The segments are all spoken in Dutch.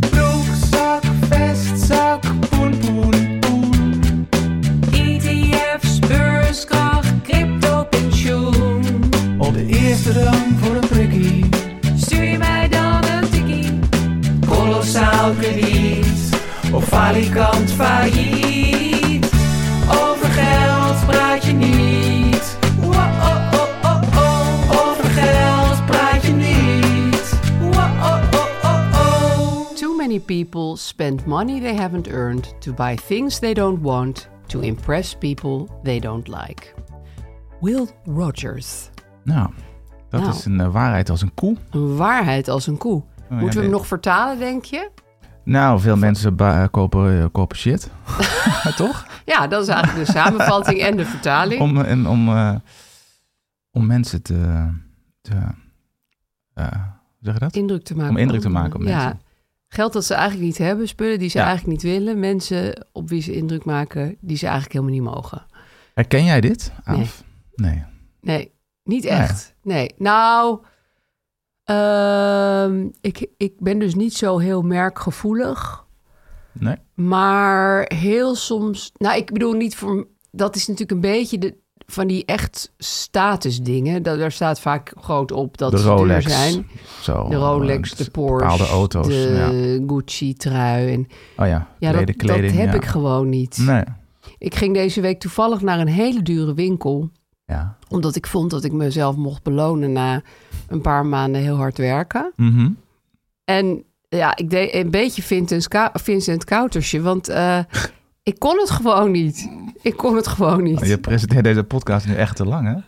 Broekzak, vestzak, poen, poen, poen. ETF's, beurskracht, crypto, pensioen. Op de eerste rang voor een prikkie. Stuur je mij dan een tikkie? Kolossaal krediet Op falikant failliet. Over geld praat je niet. Wow-oh-oh-oh-oh. Over geld praat je niet. Wow-oh-oh-oh-oh. Too many people spend money they haven't earned to buy things they don't want to impress people they don't like. Will Rogers. Nou, dat Nou. is een eh, waarheid als een koe. Een waarheid als een koe. Moeten we hem dit- nog vertalen, denk je? Nou, veel mensen ba- eh, kopen, eh, kopen shit. Toch? Ja, dat is eigenlijk de samenvatting en de vertaling. Om, en, om, eh, om mensen te... te eh, hoe zeg je dat? indruk te maken. Om indruk op te maken op anderen. Ja. mensen. Geld dat ze eigenlijk niet hebben, spullen die ze Ja. eigenlijk niet willen, mensen op wie ze indruk maken die ze eigenlijk helemaal niet mogen. Herken jij dit, Aaf? Nee. Nee, niet Nee. echt. Nee. Nou, ehm, ik, ik ben dus niet zo heel merkgevoelig. Nee? Maar heel soms. Nou, ik bedoel niet voor. Dat is natuurlijk een beetje de, van die echt statusdingen. Da- Daar staat vaak groot op dat de ze Rolex. duur zijn. Zo, De Rolex, eh, de Bepaalde Porsche, auto's. Ja. de Gucci-trui. En, Oh ja, ja, kleden, dat, kleding. dat heb ja. ik gewoon niet. Nee. Ik ging deze week toevallig naar een hele dure winkel. Ja. Omdat ik vond dat ik mezelf mocht belonen na een paar maanden heel hard werken. Mhm. En ja, ik deed een beetje Vincent, Ka- Vincent Koutersje. Want eh, ik kon het gewoon niet. Ik kon het gewoon niet. Je presenteert deze podcast nu echt te lang, hè?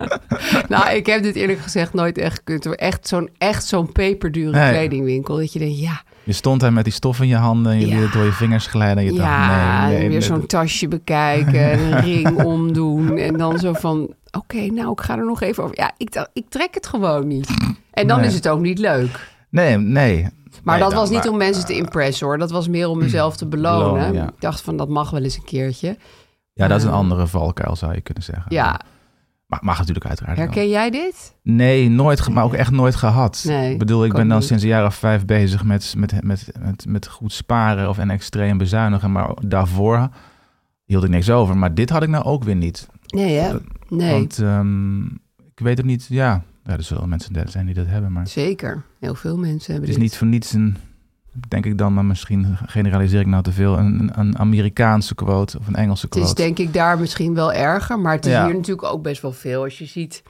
Nou, ik heb dit eerlijk gezegd nooit echt gekund. hoor. Echt zo'n echt zo'n peperdure Nee. kledingwinkel. Dat je denkt, ja, Je stond daar met die stof in je handen en je Ja. liet het door je vingers glijden. En je ja dacht, nee, nee, en weer nee, zo'n tasje bekijken en een ring omdoen. En dan zo van, oké, nou, ik ga er nog even over. Ja, ik, dacht, ik trek het gewoon niet. En dan Nee. is het ook niet leuk. Nee, nee. Maar Nee, dat was dan- niet om maar- eh, mensen te impressen, hoor. Dat was meer om mezelf te belonen. Belonen, ja. Ik dacht van, dat mag wel eens een keertje. Ja, dat is een Eh, andere valkuil, zou je kunnen zeggen. Ja, Maar mag natuurlijk uiteraard wel. herken jij dit? Nee, nooit, ge- maar ook echt nooit gehad. Nee, ik bedoel, ik ik ben ook dan niet. sinds een jaar of vijf bezig met, met, met, met, met goed sparen of en extreem bezuinigen. Maar daarvoor hield ik niks over. Maar dit had ik nou ook weer niet. Nee, hè? Nee, Want ehm, ik weet het niet, ja, ja, er zullen wel mensen dat zijn die dat hebben. Maar zeker. Heel veel mensen het hebben is dit. niet voor niets een, denk ik dan, maar misschien generaliseer ik nou te veel, een, een- een Amerikaanse quote of een Engelse Het quote. is denk ik daar misschien wel erger, maar het is Ja. hier natuurlijk ook best wel veel. Als je ziet,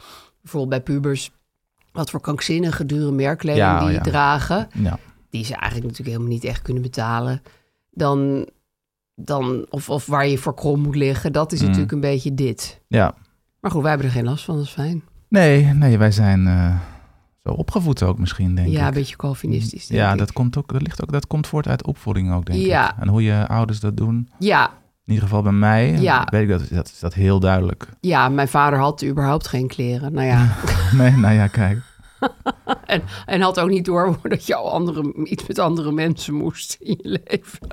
bijvoorbeeld bij pubers, wat voor krankzinnige dure merkkleding Ja, die ja. dragen, ja. die ze eigenlijk natuurlijk helemaal niet echt kunnen betalen, dan, dan of, of waar je voor krom moet liggen, dat is Mm. natuurlijk een beetje dit. ja. Maar goed, wij hebben er geen last van, dat is fijn. Nee, nee, wij zijn eh, zo opgevoed ook misschien, denk ja, ik. een beetje calvinistisch. denk ja, ik. dat komt ook, dat ligt ook, dat komt voort uit opvoeding ook, denk Ja. ik. En hoe je ouders dat doen. ja, In ieder geval bij mij, Ja. weet ik dat, dat is dat heel duidelijk. ja, mijn vader had überhaupt geen kleren. Nou ja, Nee, nou ja, kijk. en, en had ook niet door dat je al andere, iets met andere mensen moest in je leven.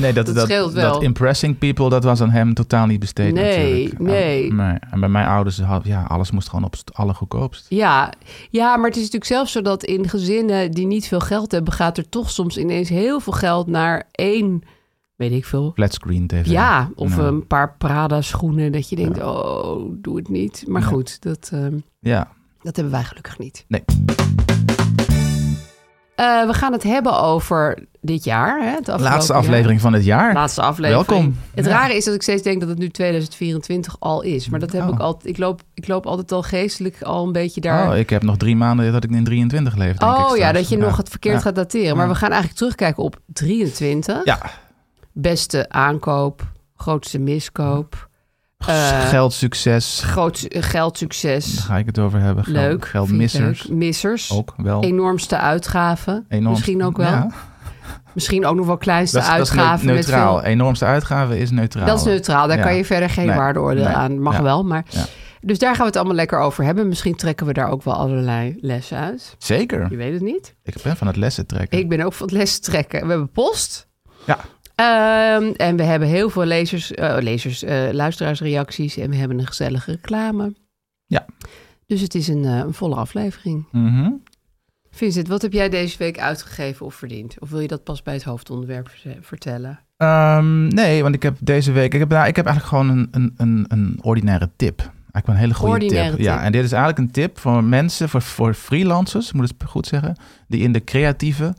Nee, dat, Dat dat, scheelt dat, wel. impressing people, dat was aan hem totaal niet besteed Nee, natuurlijk. nee. En, maar- en bij mijn ouders, had, ja, alles moest gewoon op het allergoedkoopst. Ja, ja, maar het is natuurlijk zelfs zo dat in gezinnen die niet veel geld hebben, gaat er toch soms ineens heel veel geld naar één, weet ik veel. Flatscreen Nou, tv. Ja, of Ja. een paar Prada schoenen dat je denkt, oh, doe het niet. Maar goed, dat, ehm, Ja, Dat hebben wij gelukkig niet. Nee. Eh, we gaan het hebben over dit jaar. Hè, het afgelopen Laatste jaar. aflevering van het jaar. Laatste aflevering. Welkom. Het Ja. rare is dat ik steeds denk dat het nu 2024 al is. Maar dat heb Oh. ik altijd. Ik loop, ik loop altijd al geestelijk al een beetje daar. Oh, ik heb nog drie maanden dat ik in 23 leef. denk ik Oh ja, straks. dat je nog het verkeerd Ja. gaat dateren. Maar Ja. we gaan eigenlijk terugkijken op 23. Ja, Beste aankoop, grootste miskoop, Eh, geld, succes. groot geldsucces, Daar ga ik het over hebben. Geld, leuk, Geldmissers. feedback, missers, Ook wel. enormste uitgaven, Enorm. misschien ook wel. Ja, Misschien ook nog wel kleinste dat, is- dat is uitgaven. neu- met neutraal. veel- Enormste uitgave is neutraal. Dat is neutraal, daar Ja. kan je verder geen Nee, waardeoordeel nee, aan. Mag ja. wel, maar... Ja. Dus daar gaan we het allemaal lekker over hebben. Misschien trekken we daar ook wel allerlei lessen uit. Je Zeker. weet het niet. Ik ben van het lessen trekken. Ik ben ook van het les trekken. We hebben post. Ja, Ehm, en we hebben heel veel lezers, eh, lezers eh, luisteraarsreacties. En we hebben een gezellige reclame. Ja. Dus het is een, eh, een volle aflevering. Mhm. Vincent, wat heb jij deze week uitgegeven of verdiend? Of wil je dat pas bij het hoofdonderwerp verze- vertellen? Ehm, nee, want ik heb deze week. Ik heb, nou, ik heb eigenlijk gewoon een, een, een, een ordinaire tip. Eigenlijk wel een hele goede Ordinaire tip. Ja, tip. en dit is eigenlijk een tip voor mensen, voor, voor freelancers, moet ik het goed zeggen, die in de creatieve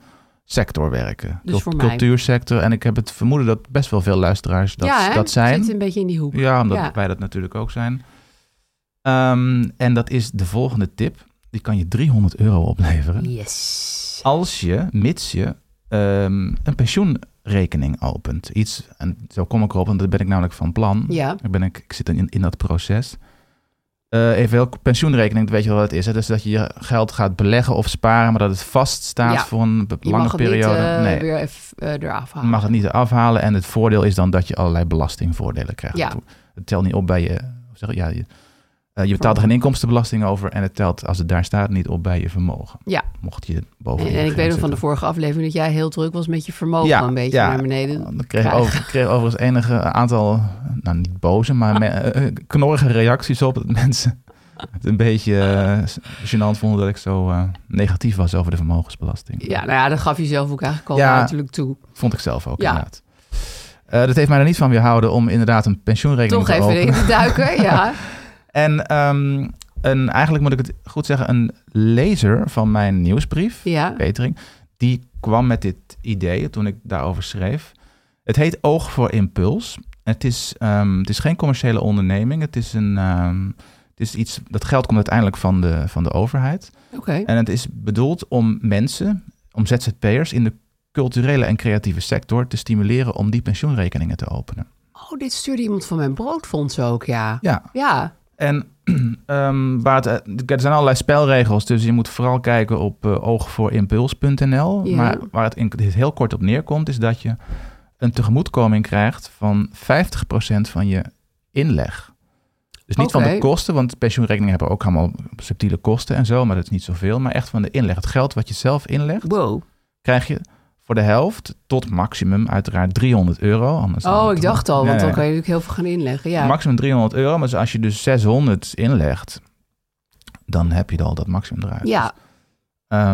sector werken. Dus Cult- voor mij. Cultuursector. En ik heb het vermoeden dat best wel veel luisteraars dat, ja, hè? dat zijn. Zit een beetje in die hoek. Ja, omdat Ja. wij dat natuurlijk ook zijn. Ehm, en dat is de volgende tip. Die kan je 300 euro opleveren. Yes. Als je, mits je, ehm, een pensioenrekening opent. Iets, en zo kom ik erop, want dat ben ik namelijk van plan. Ja. Daar ben ik, ik zit in, in dat proces. Eh even heel, pensioenrekening, dat weet je wel wat het is. Hè? Dus dat je je geld gaat beleggen of sparen, maar dat het vaststaat Ja. voor een be- Je lange mag het periode. niet eh, nee, weer even eh, eraf je halen. mag het niet afhalen. En het voordeel is dan dat je allerlei belastingvoordelen krijgt. Ja. Het- Het telt niet op bij je. hoe Zeg, ik- ja, je, eh, je betaalt er geen inkomstenbelasting over. En het telt, als het daar staat, niet op bij je vermogen. Ja. Mocht je boven. En, je en ik grens weet nog van de zitten. vorige aflevering dat jij heel druk was met je vermogen Ja, een beetje ja. naar beneden. Nou, Dan kreeg, krijgen. over, kreeg overigens enige aantal, nou niet boze, maar me- eh, eh, knorrige reacties op dat mensen het een beetje eh, gênant vonden dat ik zo eh, negatief was over de vermogensbelasting. Ja, nou ja, dat gaf je zelf ook eigenlijk al Ja. uiterlijk toe. Vond ik zelf ook Ja. inderdaad. Eh, dat heeft mij er niet van weerhouden om inderdaad een pensioenrekening Toch te even openen. in te duiken, ja. En ehm, een, eigenlijk moet ik het goed zeggen, een lezer van mijn nieuwsbrief, Ja, Petering, die kwam met dit idee toen ik daarover schreef. Het heet Oog voor Impuls. Het is, ehm, het is geen commerciële onderneming. Het is, een, ehm, het is iets, dat geld komt uiteindelijk van de, van de overheid. oké. En het is bedoeld om mensen, om ZZP'ers in de culturele en creatieve sector te stimuleren om die pensioenrekeningen te openen. Oh, dit stuurde iemand van mijn broodfonds ook, ja. Ja, Ja, En ehm, waar het, eh, er zijn allerlei spelregels, dus je moet vooral kijken op eh, oogvoorimpuls.nl. Ja. Maar waar het in, dit heel kort op neerkomt, is dat je een tegemoetkoming krijgt van 50% van je inleg. Dus niet van Oké. de kosten, want pensioenrekeningen hebben ook allemaal subtiele kosten en zo, maar dat is niet zoveel. Maar echt van de inleg. Het geld wat je zelf inlegt, wow. krijg je voor de helft tot maximum uiteraard 300 euro. Anders dan- Oh, ik dacht al, want Nee, dan nee. kan je natuurlijk heel veel gaan inleggen. Ja, Maximum 300 euro, maar als je dus 600 inlegt, dan heb je al dat maximum eruit. ja. Ehm,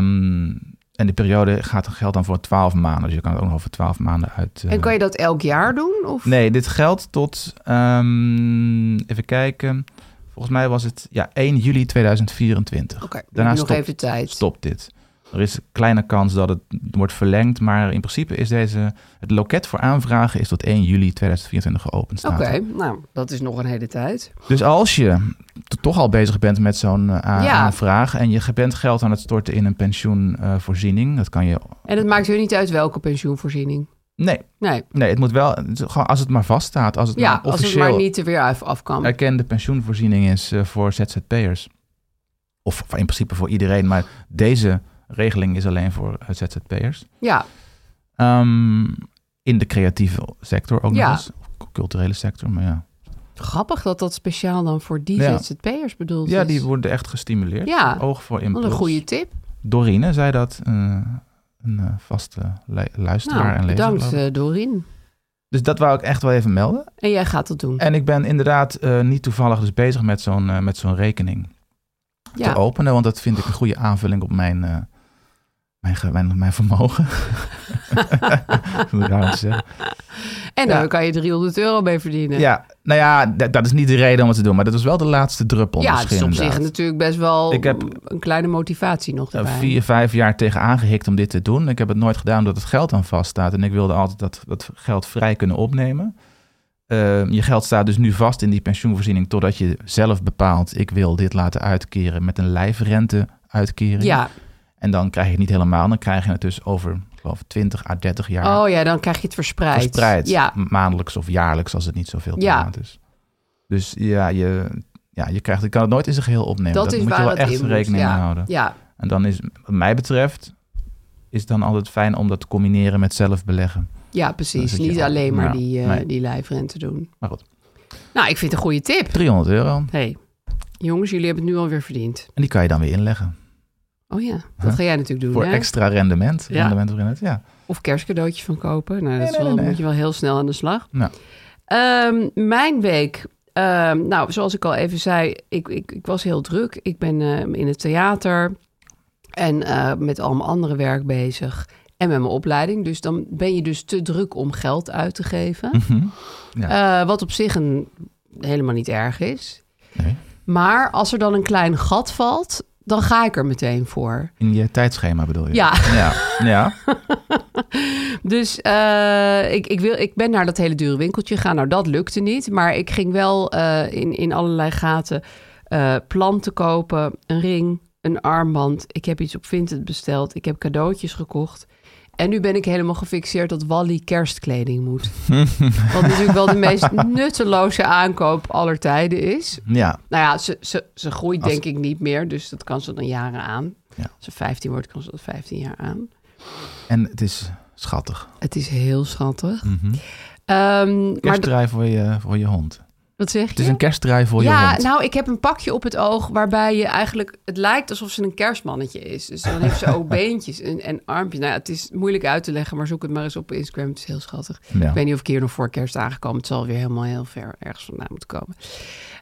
en die periode gaat geld dan voor 12 maanden, dus je kan het ook nog over 12 maanden uit. eh, en kan je dat elk jaar doen? Of? Nee, dit geldt tot, ehm, even kijken, volgens mij was het ja, 1 juli 2024. Oké, dan heb Daarna je nog stopt- even tijd. Stopt dit. Er is een kleine kans dat het wordt verlengd, maar in principe is deze, het loket voor aanvragen is tot 1 juli 2024 geopend. staat Oké, er. nou, dat is nog een hele tijd. Dus als je t- toch al bezig bent met zo'n eh, a- Ja. aanvraag en je bent geld aan het storten in een pensioenvoorziening, dat kan je. En het maakt u niet uit welke pensioenvoorziening. Nee, Nee, nee, het moet wel. het is gewoon Als het maar vaststaat, als het ja, maar als het officieel maar niet er weer af, af kan. erkende pensioenvoorziening is eh, voor ZZP'ers. Of voor- in principe voor iedereen, maar deze regeling is alleen voor eh, ZZP'ers. Ja, Ehm, in de creatieve sector ook Ja. nog eens. Of Culturele sector, maar ja. grappig dat dat speciaal dan voor die Ja. ZZP'ers bedoeld is. Ja, die worden echt gestimuleerd. Ja. Oog voor Wat impuls. een goede tip. Dorine zei dat, eh, een eh, vaste lu- luisteraar Nou, en lezer. bedankt geloof ik. eh, Dorien. Dus dat wou ik echt wel even melden. En jij gaat dat doen. En ik ben inderdaad eh, niet toevallig dus bezig met zo'n eh, met zo'n rekening ja. te openen, want dat vind ik een goede aanvulling op mijn, eh, mijn, ge- mijn, mijn vermogen. Hoe raar om te zeggen. En daar Ja. kan je 300 euro mee verdienen. Ja, Nou ja, d- dat is niet de reden om het te doen, maar dat was wel de laatste druppel. ja, het misschien, is op zich inderdaad. natuurlijk best wel Ik heb- een kleine motivatie nog Eh, erbij. vier, vijf jaar tegen aangehikt om dit te doen. Ik heb het nooit gedaan omdat het geld aan vaststaat. En ik wilde altijd dat, dat geld vrij kunnen opnemen. Eh, je geld staat dus nu vast in die pensioenvoorziening totdat je zelf bepaalt... ik wil dit laten uitkeren met een lijfrente uitkering. Ja, En dan krijg je het niet helemaal. Dan krijg je het dus over ik geloof, 20 à 30 jaar oh ja, dan krijg je het verspreid. verspreid. Ja, M- Maandelijks of jaarlijks als het niet zoveel per Ja. maand is. Dus ja, je, ja, je, krijgt, je kan het nooit in zijn geheel opnemen. dat, Dat, is moet waar je wel het echt in moet. rekening ja. mee houden. Ja, En dan is, wat mij betreft, is het dan altijd fijn om dat te combineren met zelf beleggen. ja Dan precies. zit je Niet al- alleen maar Ja, die, eh, nee. die lijfrente doen. Maar goed, Nou, ik vind het een goede tip. 300 euro. En hey, jongens, jullie hebben het nu alweer verdiend. die kan je dan weer inleggen. Oh ja, dat ga jij natuurlijk doen, Voor hè? extra rendement. Ja. rendement voor in het, ja. Of kerstcadeautje van kopen. Nou, dat is nee, wel, nee, nee. moet je wel heel snel aan de slag. Nou, Ehm, mijn week. Ehm, nou, zoals ik al even zei, ik, ik, ik was heel druk. Ik ben ehm, in het theater en eh, met al mijn andere werk bezig. En met mijn opleiding. Dus dan ben je dus te druk om geld uit te geven. Eh, wat op zich een, helemaal niet erg is. nee. Maar als er dan een klein gat valt, dan ga ik er meteen voor. In je tijdschema bedoel je? Ja. Ja, ja. Dus eh, ik, ik, wil, ik ben naar dat hele dure winkeltje gegaan. Nou, dat lukte niet. Maar ik ging wel eh, in, in allerlei gaten eh, planten kopen. Een ring, een armband. Ik heb iets op Vinted besteld. Ik heb cadeautjes gekocht. En nu ben ik helemaal gefixeerd dat Wally kerstkleding moet. Wat natuurlijk wel de meest nutteloze aankoop aller tijden is. ja. Nou ja, ze, ze, ze groeit Als- denk ik niet meer. Dus dat kan ze dan jaren aan. Ja. Als ze 15 wordt, kan ze dat 15 jaar aan. En het is schattig. Het is heel schattig. Mhm. Ehm, maar d- Kerstdraai voor je, voor je hond. wat zeg je? Het is een kerstdraai voor je ja, hond. nou, ik heb een pakje op het oog waarbij je eigenlijk... Het lijkt alsof ze een kerstmannetje is. Dus dan heeft ze ook beentjes en, en armpjes. Nou ja, het is moeilijk uit te leggen, maar zoek het maar eens op op Instagram. Het is heel schattig. Ja. Ik weet niet of ik hier nog voor kerst aangekomen. Het zal weer helemaal heel ver ergens vandaan moeten komen.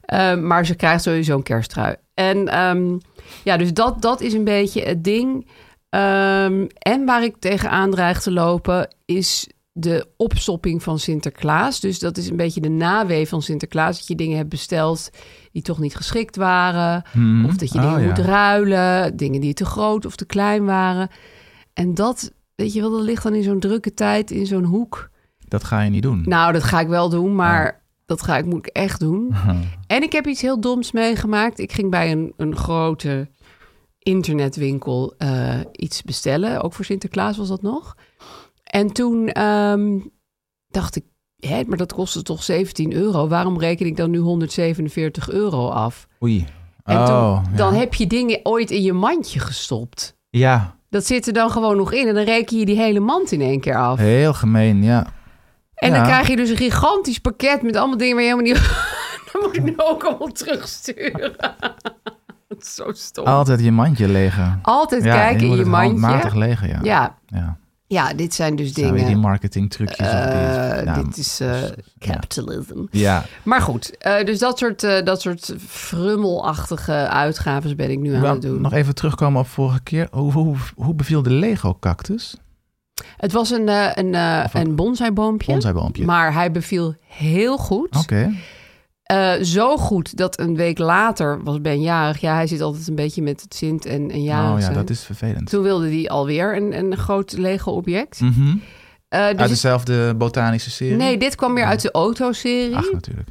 Ehm, maar ze krijgt sowieso een kersttrui. En ehm, ja, dus dat, dat is een beetje het ding. Ehm, en waar ik tegenaan dreig te lopen is de opstopping van Sinterklaas. Dus dat is een beetje de nawee van Sinterklaas. Dat je dingen hebt besteld die toch niet geschikt waren. Mhm. Of dat je Oh, dingen ja. moet ruilen. Dingen die te groot of te klein waren. En dat, weet je wel, dat ligt dan in zo'n drukke tijd, in zo'n hoek. Dat ga je niet doen. Nou, dat ga ik wel doen, maar dat ga ik, moet ik echt doen. En ik heb iets heel doms meegemaakt. Ik ging bij een, een grote internetwinkel eh, iets bestellen. Ook voor Sinterklaas was dat nog. En toen ehm, dacht ik, hè, maar dat kostte toch 17 euro. Waarom reken ik dan nu 147 euro af? Oei. En oh, toen, ja. dan heb je dingen ooit in je mandje gestopt. ja, Dat zit er dan gewoon nog in. En dan reken je die hele mand in één keer af. heel gemeen, ja. En Ja. dan krijg je dus een gigantisch pakket met allemaal dingen waar je helemaal niet... dan moet ik nu ook allemaal terugsturen. Dat is zo stom. Altijd je mandje legen. Altijd Oh. Ja, kijken moet in je het handmatig mandje. legen, ja. Ja, ja. ja, dit zijn dus Zijn weer dingen. die marketing trucjes. of Eh, die, ja, Dus, dit is eh, capitalism. ja. Maar goed, eh, dus dat soort, eh, dat soort frummelachtige uitgaven ben ik nu aan Wel, het doen. nog even terugkomen op vorige keer. Hoe, hoe, hoe beviel de Lego-cactus? Het was een, eh, een, eh, e- Of een een bonsaiboompje. bonsaiboompje. Maar hij beviel heel goed. Oké. Eh, zo goed dat een week later was Ben jarig. Ja, hij zit altijd een beetje met het Sint en, en jarig oh ja, zijn. dat is vervelend. Toen wilde hij alweer een, een groot Lego-object. Mhm. Eh, dus Uit het- dezelfde botanische serie? Nee, dit kwam weer uit de Ach, autoserie. natuurlijk.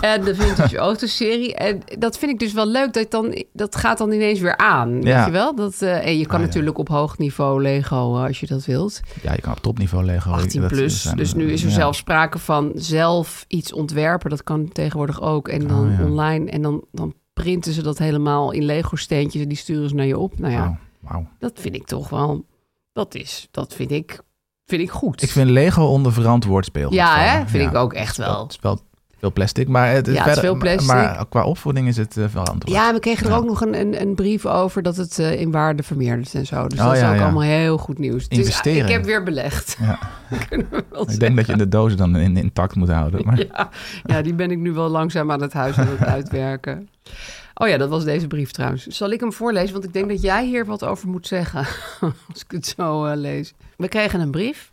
En de vintage autoserie. En dat vind ik dus wel leuk. Dat, dan, dat gaat dan ineens weer aan, weet Ja. je wel? Dat, eh, en je kan Ah, ja. natuurlijk op hoog niveau Lego, eh, als je dat wilt. Ja, je kan op topniveau Lego. 18 dat plus. zijn- dus nu is er ja. zelfs sprake van zelf iets ontwerpen. Dat kan tegenwoordig ook. En dan Oh, ja. online. En dan, dan printen ze dat helemaal in Lego-steentjes. En die sturen ze naar je op. Nou ja, Wauw, wauw. dat vind ik toch wel... Dat is... Dat vind ik... Vind ik goed. Ik vind Lego onder verantwoord speelgoed. Ja, vallen. hè? Vind ik ook echt Het is wel. Het is wel veel plastic, maar het, Ja, het is veel plastic. Maar qua opvoeding is het eh, verantwoord. ja, we kregen er Ja. ook nog een, een, een brief over dat het eh, in waarde vermeerdert en zo. Dus Oh, dat is ja, ook ja. allemaal heel goed nieuws. Dus, ah, Investeren. ik heb weer belegd. Ja. Kunnen we wel Ik denk dat je de dozen dan in, intact moet houden. Maar, Ja, ja, die ben ik nu wel langzaam aan het huis aan het uitwerken. Oh ja, dat was deze brief trouwens. Zal ik hem voorlezen? Want ik denk dat jij hier wat over moet zeggen. Als ik het zo eh, lees. We kregen een brief.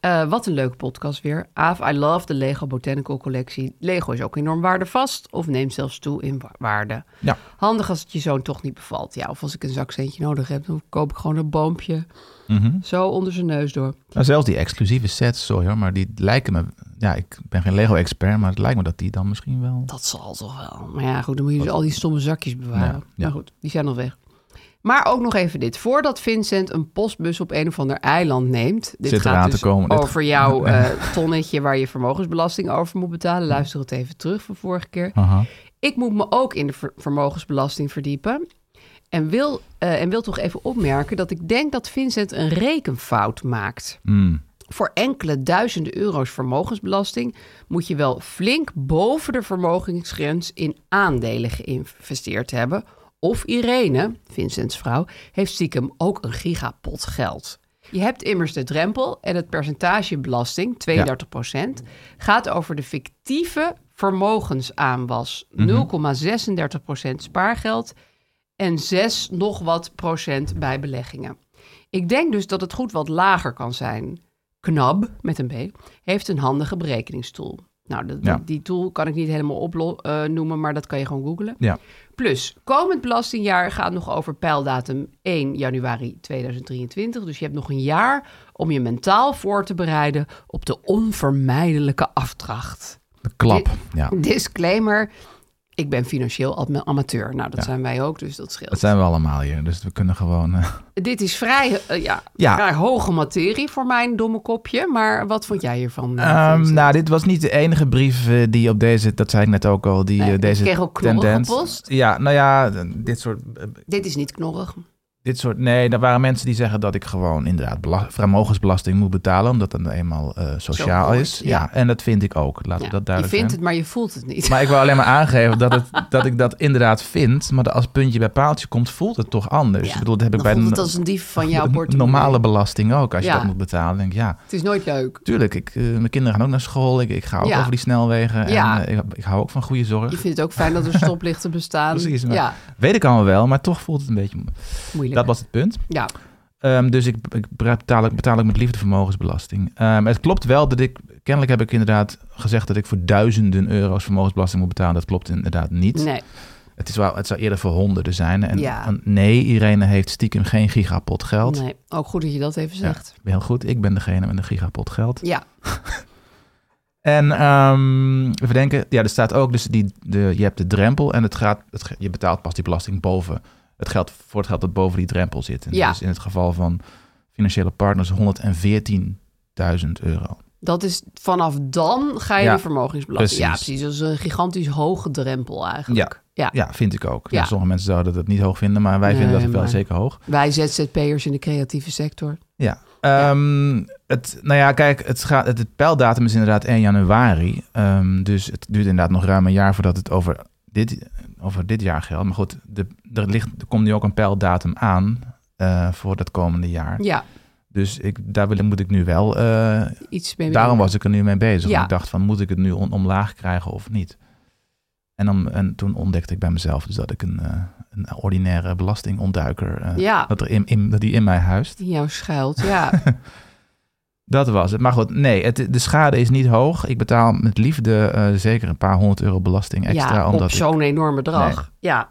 Eh, wat een leuke podcast weer. Aaf, I love de Lego Botanical Collectie. Lego is ook enorm waardevast of neemt zelfs toe in wa- waarde. Ja. Handig als het je zoon toch niet bevalt. Ja, of als ik een zakcentje nodig heb, dan koop ik gewoon een boompje. Zo onder zijn neus door. Nou, zelfs die exclusieve sets, sorry hoor, maar die lijken me... Ja, ik ben geen Lego-expert, maar het lijkt me dat die dan misschien wel... Dat zal toch wel. Maar ja, goed, dan moet je dus al die stomme zakjes bewaren. Ja, ja. Maar goed, die zijn nog weg. Maar ook nog even dit. Voordat Vincent een postbus op een of ander eiland neemt... Dit Zit gaat eraan dus te komen. Dit- over jouw eh, tonnetje waar je vermogensbelasting over moet betalen. Luister het even terug van vorige keer. Aha. Ik moet me ook in de ver- vermogensbelasting verdiepen. En wil, eh, en wil toch even opmerken dat ik denk dat Vincent een rekenfout maakt. Hmm. Voor enkele duizenden euro's vermogensbelasting moet je wel flink boven de vermogensgrens in aandelen geïnvesteerd hebben. Of Irene, Vincents vrouw, heeft stiekem ook een gigapot geld. Je hebt immers de drempel en het percentage belasting, 32 gaat over de fictieve vermogensaanwas. 0,36 spaargeld en 6 nog wat procent bij beleggingen. Ik denk dus dat het goed wat lager kan zijn. Knab, met een B, heeft een handige berekeningstool. Nou, dat- Ja. die, die tool kan ik niet helemaal opnoemen, maar dat kan je gewoon googlen. Ja. Plus, komend belastingjaar gaat nog over pijldatum 1 januari 2023. Dus je hebt nog een jaar om je mentaal voor te bereiden op de onvermijdelijke afdracht. De klap, ja. Disclaimer, ik ben financieel am- amateur. Nou, dat zijn wij ook, dus dat scheelt. Dat zijn we allemaal hier, dus we kunnen gewoon... eh, Dit is vrij, eh, ja, Ja. vrij hoge materie voor mijn domme kopje. Maar wat vond jij hiervan? eh, Ehm, Vincent? nou, dit was niet de enige brief eh, die op deze, dat zei ik net ook al, die Nee, eh, ik deze kreeg ook knorren tendens. gepost. Ja, nou ja, d- dit soort, eh, Dit is niet knorrig. dit soort. Nee, er waren mensen die zeggen dat ik gewoon inderdaad bela- vermogensbelasting moet betalen, omdat dat nou eenmaal eh, sociaal hoort, is. ja. Ja. en dat vind ik ook. Laten Ja, we dat je duidelijk vindt zijn. het, maar je voelt het niet. Maar ik wil alleen maar aangeven dat, het, dat ik dat inderdaad vind, maar als het puntje bij paaltje komt, voelt het toch anders. Ja, ik bedoel, dat heb ik dan bij voelt het no- als een dief van jouw de portemonnee. normale belasting ook. Als Ja. je dat moet betalen, denk ik ja. Het is nooit leuk. Tuurlijk, ik, eh, mijn kinderen gaan ook naar school. Ik, ik ga ook Ja. over die snelwegen. Ja. En, eh, ik, ik hou ook van goede Je zorg. vindt het ook fijn dat er stoplichten bestaan. Precies, maar- Ja, Weet ik allemaal wel, maar toch voelt het een beetje... moeilijk. Dat was het punt. Ja, Ehm, dus ik, ik betaal, ik betaal ik met liefde vermogensbelasting. Ehm, het klopt wel dat ik... Kennelijk heb ik inderdaad gezegd dat ik voor duizenden euro's vermogensbelasting moet betalen. Dat klopt inderdaad niet. nee. Het, is wel, het zou eerder voor honderden zijn. En, Ja. en nee, Irene heeft stiekem geen gigapot geld. nee. Ook goed dat je dat even zegt. Heel goed, ik ben degene met een gigapot geld. Ja, En ehm even denken, ja, er staat ook, dus die, de, je hebt de drempel en het gaat, het, ge- je betaalt pas die belasting boven het geld, voor het geld dat boven die drempel zit. En Ja. Dus in het geval van financiële partners 114.000 euro. dat is vanaf dan ga je Ja, de vermogensbelasting. Ja, precies. precies. Dat is een gigantisch hoge drempel eigenlijk. Ja. Ja, vind ik ook. Ja. Ja, sommige mensen zouden dat niet hoog vinden, maar wij vinden Nee, dat wel maar- zeker hoog. Wij ZZP'ers in de creatieve sector. Ja. Ehm, het, nou ja, kijk, het, gaat, het, het pijldatum is inderdaad 1 januari. Ehm, dus het duurt inderdaad nog ruim een jaar voordat het over dit, over dit jaar geldt. Maar goed, de, er, ligt, er komt nu ook een pijldatum aan eh, voor dat komende jaar. Ja, Dus ik, daar wil, moet ik nu wel... eh, iets meer. daarom was ik er nu mee bezig. Ja. Ik dacht van, moet ik het nu on- omlaag krijgen of niet? En, dan, en toen ontdekte ik bij mezelf dus dat ik een, eh, een ordinaire belastingontduiker... eh, Ja. dat, er in, in, dat die in mij huist. in jouw schuilt. Ja, Dat was het. Maar goed, nee, het, de schade is niet hoog. Ik betaal met liefde eh, zeker een paar honderd euro belasting extra. ja op omdat ik- zo'n enorm bedrag. Ja,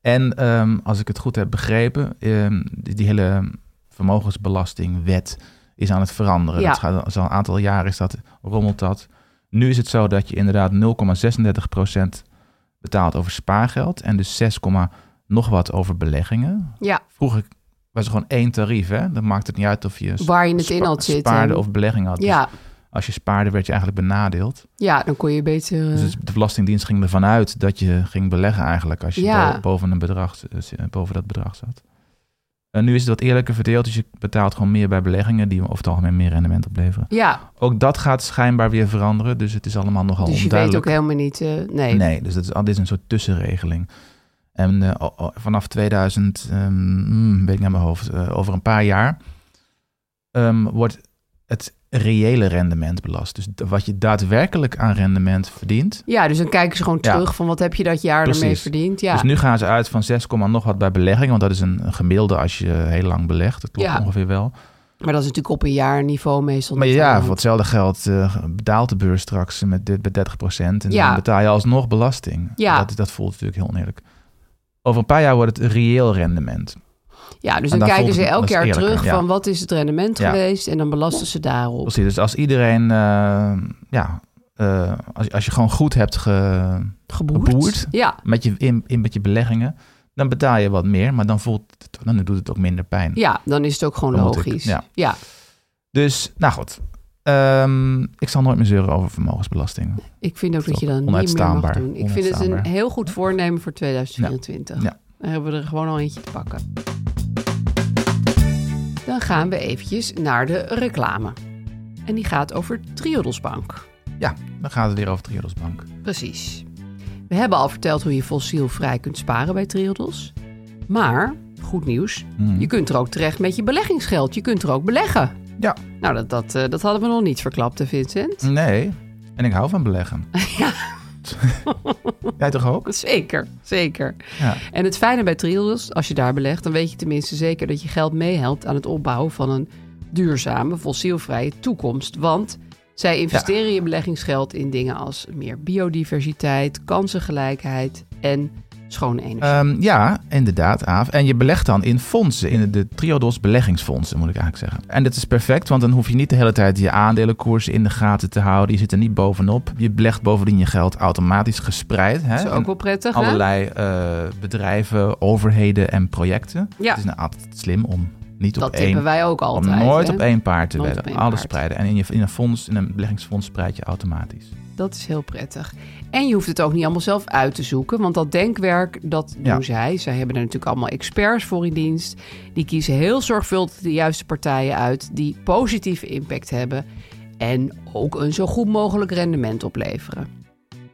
En ehm, als ik het goed heb begrepen, ehm, die, die hele vermogensbelastingwet is aan het veranderen. Ja. Dat gaat, is al een aantal jaren is dat, rommelt dat. Nu is het zo dat je inderdaad 0,36% betaalt over spaargeld en dus 6, nog wat over beleggingen. ja. Vroeger was er gewoon één tarief, hè? Dat maakt het niet uit of je Waar je het in spa- had zitten. spaarde of belegging had. Dus ja. als je spaarde, werd je eigenlijk benadeeld. ja, dan kon je beter. eh, Dus de Belastingdienst ging ervan uit dat je ging beleggen eigenlijk als je Ja. bo- boven, een bedrag, eh, boven dat bedrag zat. En nu is het wat eerlijker verdeeld, dus je betaalt gewoon meer bij beleggingen die over het algemeen meer rendement opleveren. eh, ja, Ook dat gaat schijnbaar weer veranderen, dus het is allemaal nogal dus je weet ook onduidelijk. helemaal niet. eh, nee. nee, dus dat is, dit is een soort tussenregeling. En eh, o- o- vanaf 2000, ehm, hmm, weet ik naar mijn hoofd, eh, over een paar jaar, ehm, wordt het reële rendement belast. Dus d- wat je daadwerkelijk aan rendement verdient, Ja, dus dan kijken ze gewoon Ja. terug van wat heb je dat jaar ermee Precies. verdiend. Ja. Dus nu gaan ze uit van 6, komma nog wat bij beleggingen. Want dat is een een gemiddelde als je heel lang belegt. Dat klopt Ja. ongeveer wel. Maar dat is natuurlijk op een jaar niveau meestal. Maar niet ja, aan de voor hand. hetzelfde geld eh, daalt de beurs straks met dit bij 30 En Ja. dan betaal je alsnog belasting. Ja. Dat, dat voelt natuurlijk heel oneerlijk. Over een paar jaar wordt het reëel rendement. Ja, dus dan En dan kijken voelt ze het- elk dat is jaar eerlijker, terug ja. van wat is het rendement Ja. geweest en dan belasten ze daarop. Precies, dus als iedereen, eh, ja, eh, als, je- als je gewoon goed hebt ge, Geboerd. Geboerd. Ja, met, je, in, in, met je beleggingen, dan betaal je wat meer, maar dan, voelt het, dan doet het ook minder pijn. ja, dan is het ook gewoon Dan moet ik, logisch. ja. ja. Dus, nou goed. Ehm, ik zal nooit meer zeuren over vermogensbelasting. Ik vind ook Dat dat is je ook dat niet meer mag onuitstaanbaar. doen. Ik vind het een Onuitstaanbaar. heel goed voornemen voor 2024. Ja. Dan hebben we er gewoon al eentje te pakken. Dan gaan we eventjes naar de reclame. En die gaat over Triodos Bank. Ja, dan gaat het weer over Triodos Bank. Precies. We hebben al verteld hoe je fossielvrij kunt sparen bij Triodos. Maar, goed nieuws, Hmm. je kunt er ook terecht met je beleggingsgeld. Je kunt er ook beleggen. Ja, Nou, dat, dat, eh, dat hadden we nog niet verklapt, hè, Vincent? nee. En ik hou van beleggen. Ja. Jij toch ook? Zeker, zeker. Ja. En het fijne bij Triodos, als je daar belegt, dan weet je tenminste zeker dat je geld meehelpt aan het opbouwen van een duurzame, fossielvrije toekomst. Want zij investeren je beleggingsgeld in dingen als meer biodiversiteit, kansengelijkheid en schone energie. Ehm, ja, inderdaad, Aaf. En je belegt dan in fondsen, in de Triodos beleggingsfondsen, moet ik eigenlijk zeggen. En dat is perfect, want dan hoef je niet de hele tijd je aandelenkoersen in de gaten te houden. Je zit er niet bovenop. Je belegt bovendien je geld automatisch gespreid. Hè? dat is ook in wel prettig, hè? allerlei eh, bedrijven, overheden en projecten. Ja. Het is nou altijd slim om niet Dat op één... tippen wij ook om altijd. nooit hè? op één paard te Nooit op wedden. één Alles paard. spreiden. En in, je, in, een fonds, in een beleggingsfonds spreid je automatisch. Dat is heel prettig. En je hoeft het ook niet allemaal zelf uit te zoeken, want dat denkwerk, dat doen Ja. zij. Zij hebben er natuurlijk allemaal experts voor in dienst. Die kiezen heel zorgvuldig de juiste partijen uit die positieve impact hebben en ook een zo goed mogelijk rendement opleveren.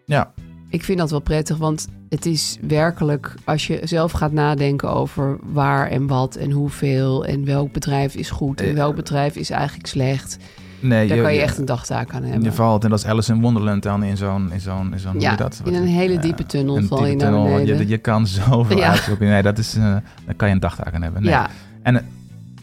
Ja, Ik vind dat wel prettig, want het is werkelijk als je zelf gaat nadenken over waar en wat en hoeveel en welk bedrijf is goed en welk bedrijf is eigenlijk slecht. nee, Daar kan je echt een dagtaak aan hebben. Je valt en dat is Alice in Wonderland dan in zo'n, in zo'n, in zo'n hoe Ja, heet dat? in een Wat- hele eh, diepe tunnel een val diepe je naar tunnel, want Je, beneden. je kan zoveel Ja. uitzoeken. Nee, dat is, eh, daar kan je een dagtaak aan hebben. Nee. Ja. En eh,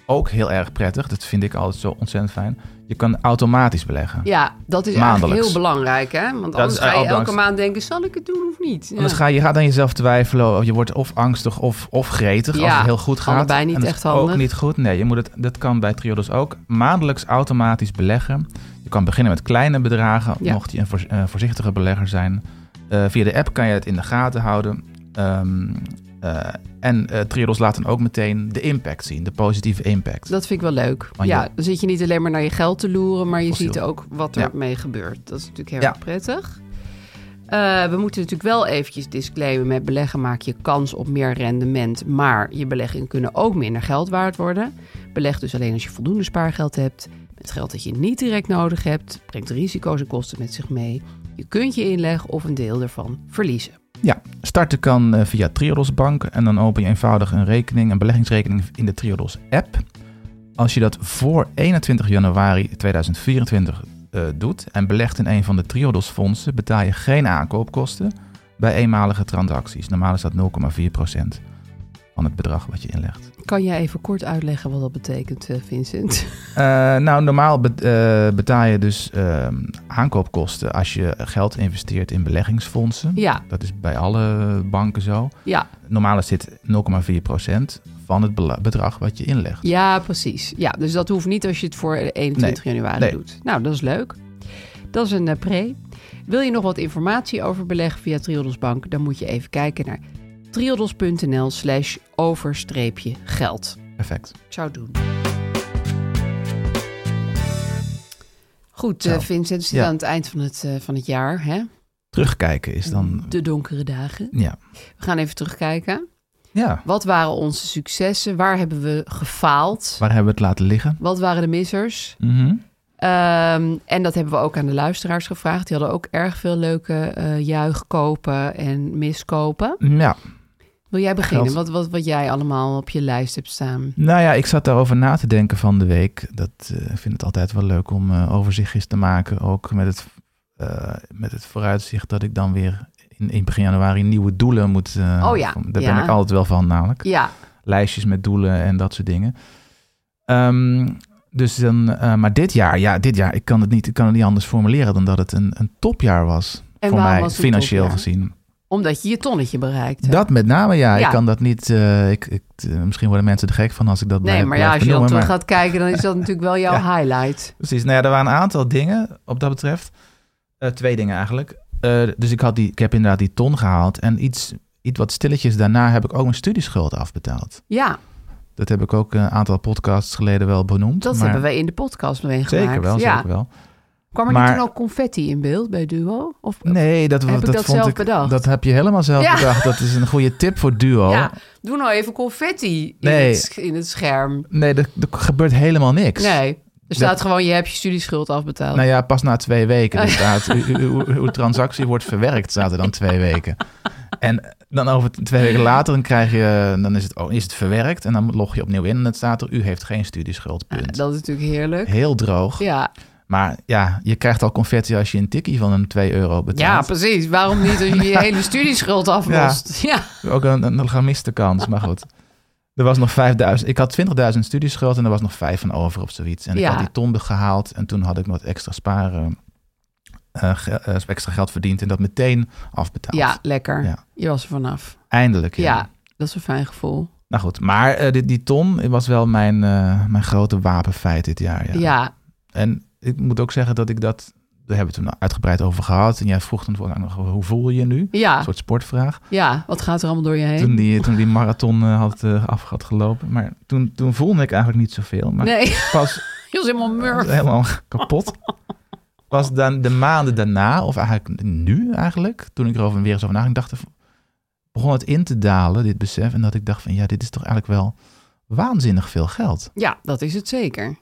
ook heel erg prettig, dat vind ik altijd zo ontzettend fijn. Je kan automatisch beleggen. Ja, dat is eigenlijk Maandelijks. heel belangrijk, hè? Want anders is ga je eigenlijk elke al maand denken, zal ik het doen of niet? Ja. Anders ga je, je gaat aan jezelf twijfelen. Je wordt of angstig of, of gretig als Ja, het heel goed gaat. allebei niet En dat echt is handig. Ook niet goed. Nee, je moet het, dat kan bij Triodos ook. Maandelijks automatisch beleggen. Je kan beginnen met kleine bedragen, Ja. mocht je een voorz- eh, voorzichtige belegger zijn. Eh, via de app kan je het in de gaten houden. Ehm, eh, en eh Triodos laat dan ook meteen de impact zien, de positieve impact. Dat vind ik wel leuk. Want ja, je- dan zit je niet alleen maar naar je geld te loeren, maar je Fossiel. ziet ook wat er Ja. mee gebeurt. Dat is natuurlijk heel Ja. erg prettig. Eh, we moeten natuurlijk wel eventjes disclaimen met beleggen maak je kans op meer rendement, maar je beleggingen kunnen ook minder geld waard worden. Beleg dus alleen als je voldoende spaargeld hebt. Het geld dat je niet direct nodig hebt brengt risico's en kosten met zich mee. Je kunt je inleg of een deel ervan verliezen. Ja, starten kan eh, via Triodos Bank en dan open je eenvoudig een rekening, een beleggingsrekening in de Triodos app. Als je dat voor 21 januari 2024 eh, doet en belegt in een van de Triodos fondsen, betaal je geen aankoopkosten bij eenmalige transacties. Normaal is dat 0,4% van het bedrag wat je inlegt. Kan jij even kort uitleggen wat dat betekent, eh, Vincent? Eh, nou, normaal bet- eh, betaal je dus eh, aankoopkosten als je geld investeert in beleggingsfondsen. Ja, Dat is bij alle banken zo. ja, Normaal is dit 0,4% van het bela- bedrag wat je inlegt. ja, precies. Ja, dus dat hoeft niet als je het voor 21 januari nee. doet. Nou, dat is leuk. Dat is een eh, pre. Wil je nog wat informatie over beleggen via Triodos Bank? Dan moet je even kijken naar triodos.nl slash overstreepje geld. Perfect. Ik zou het doen. Goed, eh, Zo. Vincent, we zitten Ja. aan het eind van het, eh, van het jaar. Hè? Terugkijken is dan. De donkere dagen. Ja. We gaan even terugkijken. ja. Wat waren onze successen? Waar hebben we gefaald? Waar hebben we het laten liggen? Wat waren de missers? Mhm. Ehm, en dat hebben we ook aan de luisteraars gevraagd. Die hadden ook erg veel leuke eh juichkopen en miskopen. Ja. Wil jij beginnen? Geld. Wat, wat, wat jij allemaal op je lijst hebt staan? Nou ja, ik zat daarover na te denken van de week. Dat, eh, ik vind het altijd wel leuk om eh, overzichtjes te maken. Ook met het, eh, met het vooruitzicht dat ik dan weer in, in begin januari nieuwe doelen moet. eh, Oh ja, Daar ja. ben ik altijd wel van namelijk. Ja, lijstjes met doelen en dat soort dingen. Ehm, Dus dan, eh, maar dit jaar, ja, dit jaar, ik kan het niet, ik kan het niet anders formuleren dan dat het een, een topjaar was. En voor waarom mij, was het een financieel topjaar? gezien. Omdat je je tonnetje bereikt hebt. Dat met name, ja. Ja. Ik kan dat niet. eh, ik, ik, eh, misschien worden mensen er gek van als ik dat nee, blijf- maar ja, blijf als je dan benoemen, terug maar- gaat kijken, dan is dat natuurlijk wel jouw Ja. highlight. Precies. Nou ja, er waren een aantal dingen op dat betreft. Eh, twee dingen eigenlijk. Eh, dus ik, had die, ik heb inderdaad die ton gehaald. En iets, iets wat stilletjes daarna heb ik ook mijn studieschuld afbetaald. Ja, Dat heb ik ook een aantal podcasts geleden wel benoemd. dat maar hebben wij in de podcast meegemaakt. Zeker wel, ja. zeker wel. Kwam er Maar- niet toen ook confetti in beeld bij Duo? Of, Nee, dat, Heb ik dat, dat vond zelf ik, bedacht? Dat heb je helemaal zelf Ja. bedacht. Dat is een goede tip voor duo. Ja, doe nou even confetti in, Oh. Nee. het, sch- in het scherm. Nee, er, er gebeurt helemaal niks. Nee, er staat gewoon je hebt je studieschuld afbetaald. Nou ja, pas na twee weken. Dus staat, u- u- uw, uw transactie wordt verwerkt, staat er dan twee weken. En dan over t- twee weken later, dan krijg je, dan is het, oh, is het verwerkt. En dan log je opnieuw in en dan staat er, u heeft geen studieschuld, Ja, punt. dat is natuurlijk heerlijk. Heel droog. Ja. Maar ja, je krijgt al confetti als je een tikkie van een 2 euro ja, betaalt. precies. Waarom niet als je je hele studieschuld aflost? Ja. Ook een, een, een gemiste kans, maar goed. Er was nog 5000. Ik had 20.000 studieschuld en er was nog 5 van over of zoiets. En ik Ja. had die ton gehaald en toen had ik nog wat extra sparen. eh, ge- eh, extra geld verdiend en dat meteen afbetaald. Ja, lekker. Ja. Je was er vanaf. Eindelijk. Ja. Ja. dat is een fijn gevoel. Nou goed, maar eh, die, die ton was wel mijn, eh, mijn grote wapenfeit dit jaar. Ja, Ja. En ik moet ook zeggen dat ik dat. Daar hebben we het toen uitgebreid over gehad. En jij vroeg toen ook nog hoe voel je je nu? ja, Een soort sportvraag. ja. Wat gaat er allemaal door je heen? Toen die, toen die marathon eh, had, eh, af had gelopen. Maar toen, toen voelde ik eigenlijk niet zoveel. Maar Nee, je pas was helemaal murf. helemaal kapot. Pas dan de maanden daarna, of eigenlijk nu eigenlijk, toen ik erover weer eens over nadacht, dacht, ik- begon het in te dalen, dit besef. En dat ik dacht van ja, dit is toch eigenlijk wel waanzinnig veel geld. Ja, dat is het zeker.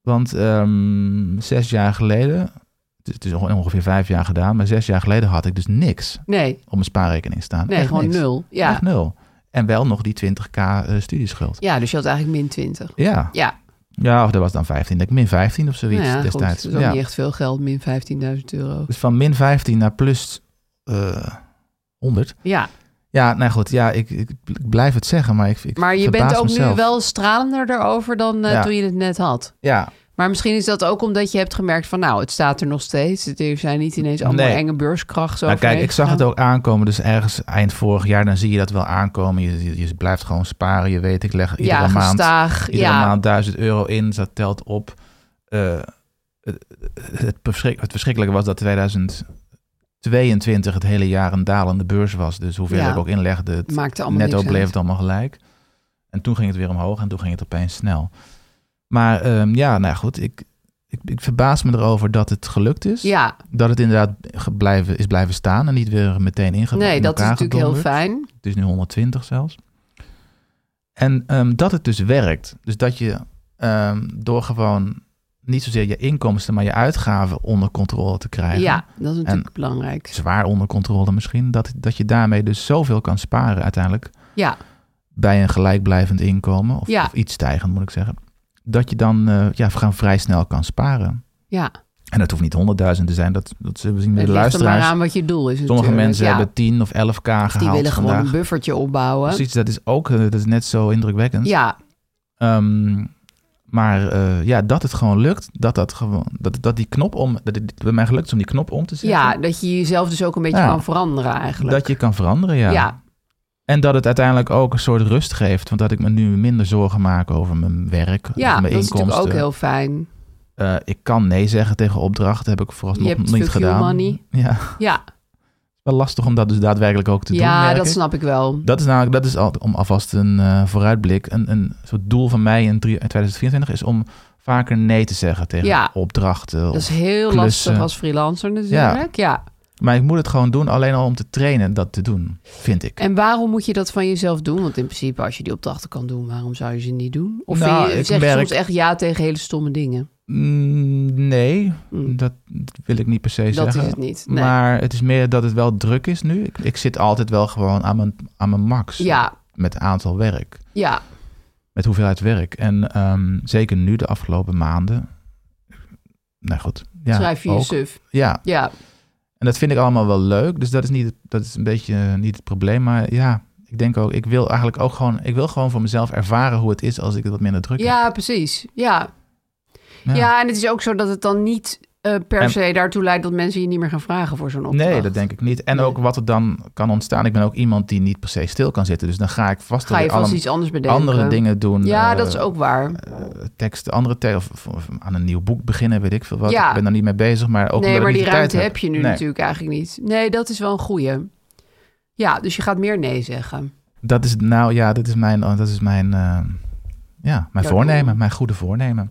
Want ehm, zes jaar geleden, het is- het is ongeveer vijf jaar gedaan, maar zes jaar geleden had ik dus niks Nee, op mijn spaarrekening staan. nee Echt gewoon niks. nul. Ja. Echt nul. En wel nog die 20k eh, studieschuld. ja, dus je had eigenlijk min 20. Ja. Ja, ja, of dat was dan 15. denk Ik min 15 of zoiets nou ja, goed. Dat destijds. is ook ja. niet echt veel geld, min 15.000 euro. Dus van min 15 naar plus eh 100. Ja, Ja, nou goed, ja, ik, ik, ik blijf het zeggen, maar ik, ik maar je verbaas bent ook mezelf. nu wel stralender erover dan eh, Ja. toen je het net had. Ja, Maar misschien is dat ook omdat je hebt gemerkt van... nou, het staat er nog steeds. Het- Er zijn niet ineens allemaal Nee. enge beurskracht. nou kijk, ik zag het ook aankomen, dus ergens eind vorig jaar, dan zie je dat wel aankomen. Je, je, je blijft gewoon sparen, je weet, ik leg iedere Ja, maand, gestaag. iedere ja, maand 1000 euro in, dus dat telt op. Eh, het, het, verschrik- het verschrikkelijke was dat 2022 het hele jaar een dalende beurs was, dus hoeveel Ja. ik ook inlegde, het, het maakte allemaal Netto niks bleef uit. het allemaal gelijk. En toen ging het weer omhoog en toen ging het opeens snel. Maar ehm, ja, nou ja, goed, ik, ik, ik verbaas me erover dat het gelukt is. Ja, Dat het inderdaad ge- blijven, is blijven staan en niet weer meteen ingebracht. nee, dat is natuurlijk heel fijn. Het is nu 120 zelfs. En ehm, dat het dus werkt. Dus dat je ehm, door gewoon niet zozeer je inkomsten, maar je uitgaven onder controle te krijgen. Ja, dat is natuurlijk belangrijk. Zwaar onder controle misschien. Dat, dat je daarmee dus zoveel kan sparen uiteindelijk Ja, bij een gelijkblijvend inkomen, of, Ja. of iets stijgend moet ik zeggen, dat je dan eh ja, gaan vrij snel kan sparen. ja. En dat hoeft niet honderdduizend te zijn, dat, dat zullen we zien bij Het de ligt er maar luisteraars. aan wat je doel is Sommige natuurlijk. mensen Ja, Dus hebben 10 of 11k gehaald Die willen gewoon vandaag. een buffertje opbouwen. Precies, dat is ook eh, dat is net zo indrukwekkend. Ja, Ehm, maar eh, ja, dat het gewoon lukt, dat, dat, gewoon, dat, dat die knop om, dat het bij mij gelukt is om die knop om te zetten. ja, dat je jezelf dus ook een beetje Ja. kan veranderen eigenlijk. dat je kan veranderen, ja. ja, En dat het uiteindelijk ook een soort rust geeft. Want dat ik me nu minder zorgen maak over mijn werk, ja over dat mijn is inkomsten. natuurlijk ook heel fijn. Eh, ik kan nee zeggen tegen opdrachten, heb ik vooralsnog Je hebt niet fuck you gedaan. money. Ja, het Ja, is wel lastig om dat dus daadwerkelijk ook te doen. ja merk dat ik. snap ik wel. Dat is namelijk, dat is al, om alvast een eh, vooruitblik, een, een soort doel van mij in drie- in 2024 is om vaker nee te zeggen tegen Ja. opdrachten. Dat of- is heel klussen. lastig als freelancer natuurlijk. Ja. Maar ik moet het gewoon doen, alleen al om te trainen dat te doen, vind ik. En waarom moet je dat van jezelf doen? Want in principe, als je die opdrachten kan doen, waarom zou je ze niet doen? Of Nou, vind je, ik zeg je merk- soms echt ja tegen hele stomme dingen? Mm, nee, Mm. dat wil ik niet per se Dat zeggen. is het niet, nee. Maar het is meer dat het wel druk is nu. Ik, ik zit altijd wel gewoon aan mijn, aan mijn max Ja, met aantal werk. ja, met hoeveelheid werk. En ehm, zeker nu de afgelopen maanden. Nou goed. Ja, schrijf je je ook. suf. Ja, Ja, en dat vind ik allemaal wel leuk. Dus dat is, niet, het- dat is een beetje eh, niet het probleem. Maar ja, ik denk ook, ik wil eigenlijk ook gewoon, ik wil gewoon voor mezelf ervaren hoe het is als ik het wat minder druk heb. ja precies. Ja. Ja. en het is ook zo dat het dan niet eh, per En- se daartoe leidt dat mensen je niet meer gaan vragen voor zo'n opdracht. Nee, dat denk ik niet. En Nee. ook wat er dan kan ontstaan. Ik ben ook iemand die niet per se stil kan zitten. Dus dan ga ik vast Ga je weer vast allem- iets anders bedenken. andere dingen doen. Ja, eh, dat is ook waar. eh, tekst, andere tekst, of, of- of aan een nieuw boek beginnen, weet ik veel wat. Ja. Ik ben daar niet mee bezig, maar ook nee, omdat maar ik die niet de tijd ruimte heb je nu Nee. natuurlijk eigenlijk niet. Nee, dat is wel een goeie. Ja, dus je gaat meer nee zeggen. Dat is nou ja, dat is mijn, oh, dat is mijn, eh, ja, mijn Jouw voornemen, doel. mijn goede voornemen.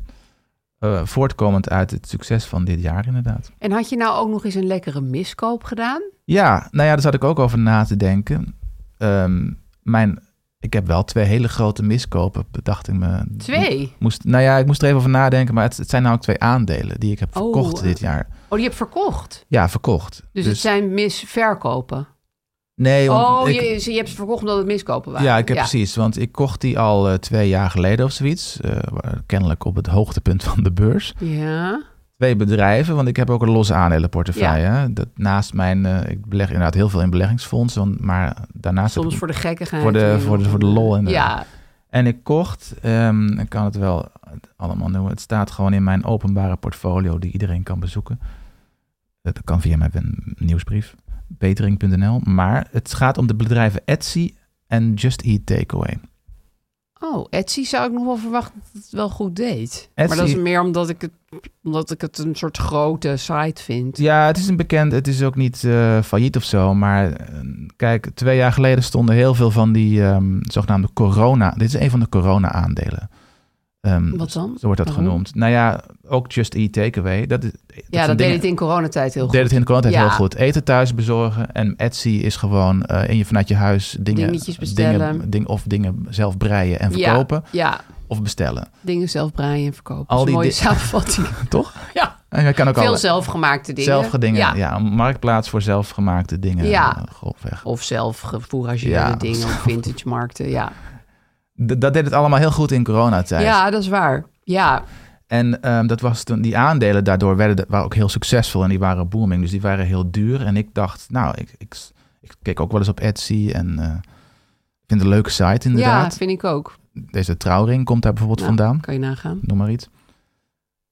Eh, voortkomend uit het succes van dit jaar inderdaad. En had je nou ook nog eens een lekkere miskoop gedaan? Ja, nou ja, daar zat ik ook over na te denken. Ehm, mijn, ik heb wel twee hele grote miskopen, bedacht ik me. Twee. Moest, nou ja, ik moest er even over nadenken, maar het, het zijn namelijk twee aandelen die ik heb Oh, verkocht eh. dit jaar. Oh, die heb verkocht. Ja, verkocht. Dus, het zijn misverkopen. nee, want Oh, ik- je, ze- je hebt ze verkocht omdat het miskopen waren. Ja, ik heb precies. Want ik kocht die al eh, twee jaar geleden of zoiets. Eh, wa- kennelijk op het hoogtepunt van de beurs. Ja. Twee bedrijven, want ik heb ook een losse aandelenportefeuille. hè. Dat naast mijn, eh, ik beleg inderdaad heel veel in beleggingsfondsen, want- maar daarnaast heb Soms ik- voor de gekkigheid. voor de- en voor de- nog voor de een- lol en de- Ja, En ik kocht, ehm, ik kan het wel allemaal noemen. Het staat gewoon in mijn openbare portfolio die iedereen kan bezoeken. Dat kan via mijn nieuwsbrief, betering.nl. Maar het gaat om de bedrijven Etsy en Just Eat Takeaway. Oh, Etsy zou ik nog wel verwachten dat het wel goed deed. Etsy- Maar dat is meer omdat ik het, omdat ik het een soort grote site vind. Ja, het is een bekend. Het is ook niet eh, failliet of zo. Maar eh, kijk, twee jaar geleden stonden heel veel van die ehm, zogenaamde corona. Dit is een van de corona-aandelen. Ehm, Wat dan? Zo wordt dat Waarom? genoemd. Nou ja, ook Just Eat Takeaway. Dat, is- Ja, zijn dat deed dingen- het in coronatijd heel deed goed. het in de coronatijd Ja. heel goed. Eten thuis bezorgen. En Etsy is gewoon eh, in je, vanuit je huis dingen, Dingetjes Dingen, bestellen. ding, of dingen zelf breien en verkopen. Ja, ja, Of bestellen. dingen zelf breien en verkopen. Al Al die die mooie di- samenvatting. Toch? ja, En je kan ook veel al zelfgemaakte dingen. zelfgedingen. Ja. Ja. een marktplaats voor zelfgemaakte dingen. Ja. eh, grofweg. Of zelf gefourageerde Ja. dingen op vintage markten. Ja. D- dat deed het allemaal heel goed in coronatijd. ja, dat is waar. Ja, En ehm, dat was toen, die aandelen daardoor werden, de- waren ook heel succesvol en die waren booming. Dus die waren heel duur. En ik dacht, nou, ik, ik, ik keek ook wel eens op Etsy en eh, ik vind het een leuke site ja inderdaad. vind ik ook. Deze trouwring komt daar bijvoorbeeld Nou, vandaan. Kan je nagaan. Noem maar iets.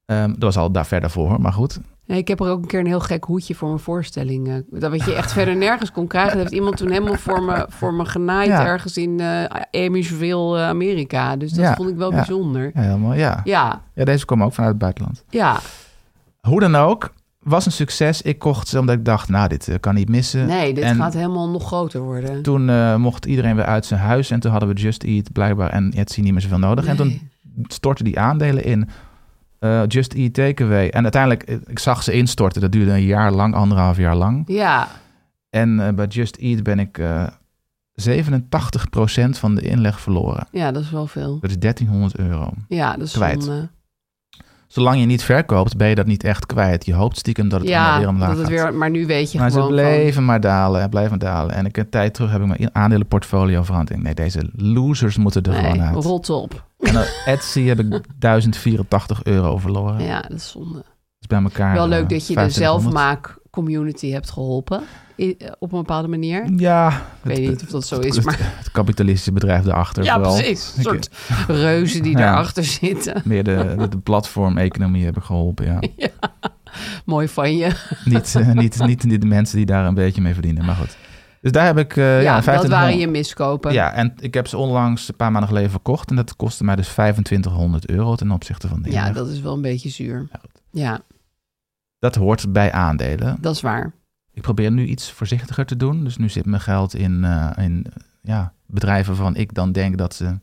Ehm, dat was al daar verder voor, hoor, maar goed. Nee, ik heb er ook een keer een heel gek hoedje voor mijn voorstelling. eh, Dat wat je echt verder nergens kon krijgen. Dat heeft iemand toen helemaal voor me, voor me genaaid Ja. ergens in eh Amityville, eh, Amerika. Dus dat Ja, vond ik wel ja. bijzonder. Ja, helemaal, ja. Ja, Ja, deze kwam ook vanuit het buitenland. ja. Hoe dan ook, was een succes. Ik kocht ze omdat ik dacht, nou, dit eh, kan niet missen. Nee, dit En- gaat helemaal nog groter worden. Toen eh, mocht iedereen weer uit zijn huis en toen hadden we Just Eat blijkbaar en Etsy niet meer zoveel nodig. En toen Nee. stortten die aandelen in. Eh, Just Eat Takeaway. En uiteindelijk, eh, ik zag ze instorten. Dat duurde een jaar lang, anderhalf jaar lang. Ja, En eh, bij Just Eat ben ik eh 87% van de inleg verloren. ja, dat is wel veel. Dat is 1300 euro. Ja, dat is eh, Kwijt. zonde. Zolang je niet verkoopt, ben je dat niet echt kwijt. Je hoopt stiekem dat het allemaal Ja, weer omlaag dat het gaat. weer, maar nu weet je maar ze gewoon bleven maar dalen en blijven maar dalen. En ik een tijd terug heb ik mijn aandelenportfolio veranderd. Ik denk, Nee, deze losers moeten er van, gewoon nee, uit. rot op. En dan Etsy heb ik 1084 euro verloren. Ja, dat is zonde. Dus bij elkaar. wel eh, leuk dat je de 2500. zelfmaak community hebt geholpen. I- eh, op een bepaalde manier. Ik Ja, weet niet of dat zo is, maar... het kapitalistische bedrijf erachter. Ja, vooral. precies. Een Ik- soort reuzen die Ja. daarachter zitten. Meer de, de, de platformeconomie hebben geholpen. Ja. Mooi van je. niet, eh, niet, niet, niet de mensen die daar een beetje mee verdienen. Maar goed. Dus daar heb ik. eh, ja, ja, dat 2500 waren je miskopen. Ja, en ik heb ze onlangs een paar maanden geleden verkocht. En dat kostte mij dus 2500 euro ten opzichte van de Ja, inleg. dat is wel een beetje zuur. Ja, goed. Ja, dat hoort bij aandelen. dat is waar. Ik probeer nu iets voorzichtiger te doen. Dus nu zit mijn geld in, eh, in eh, ja, bedrijven waarvan ik dan denk dat ze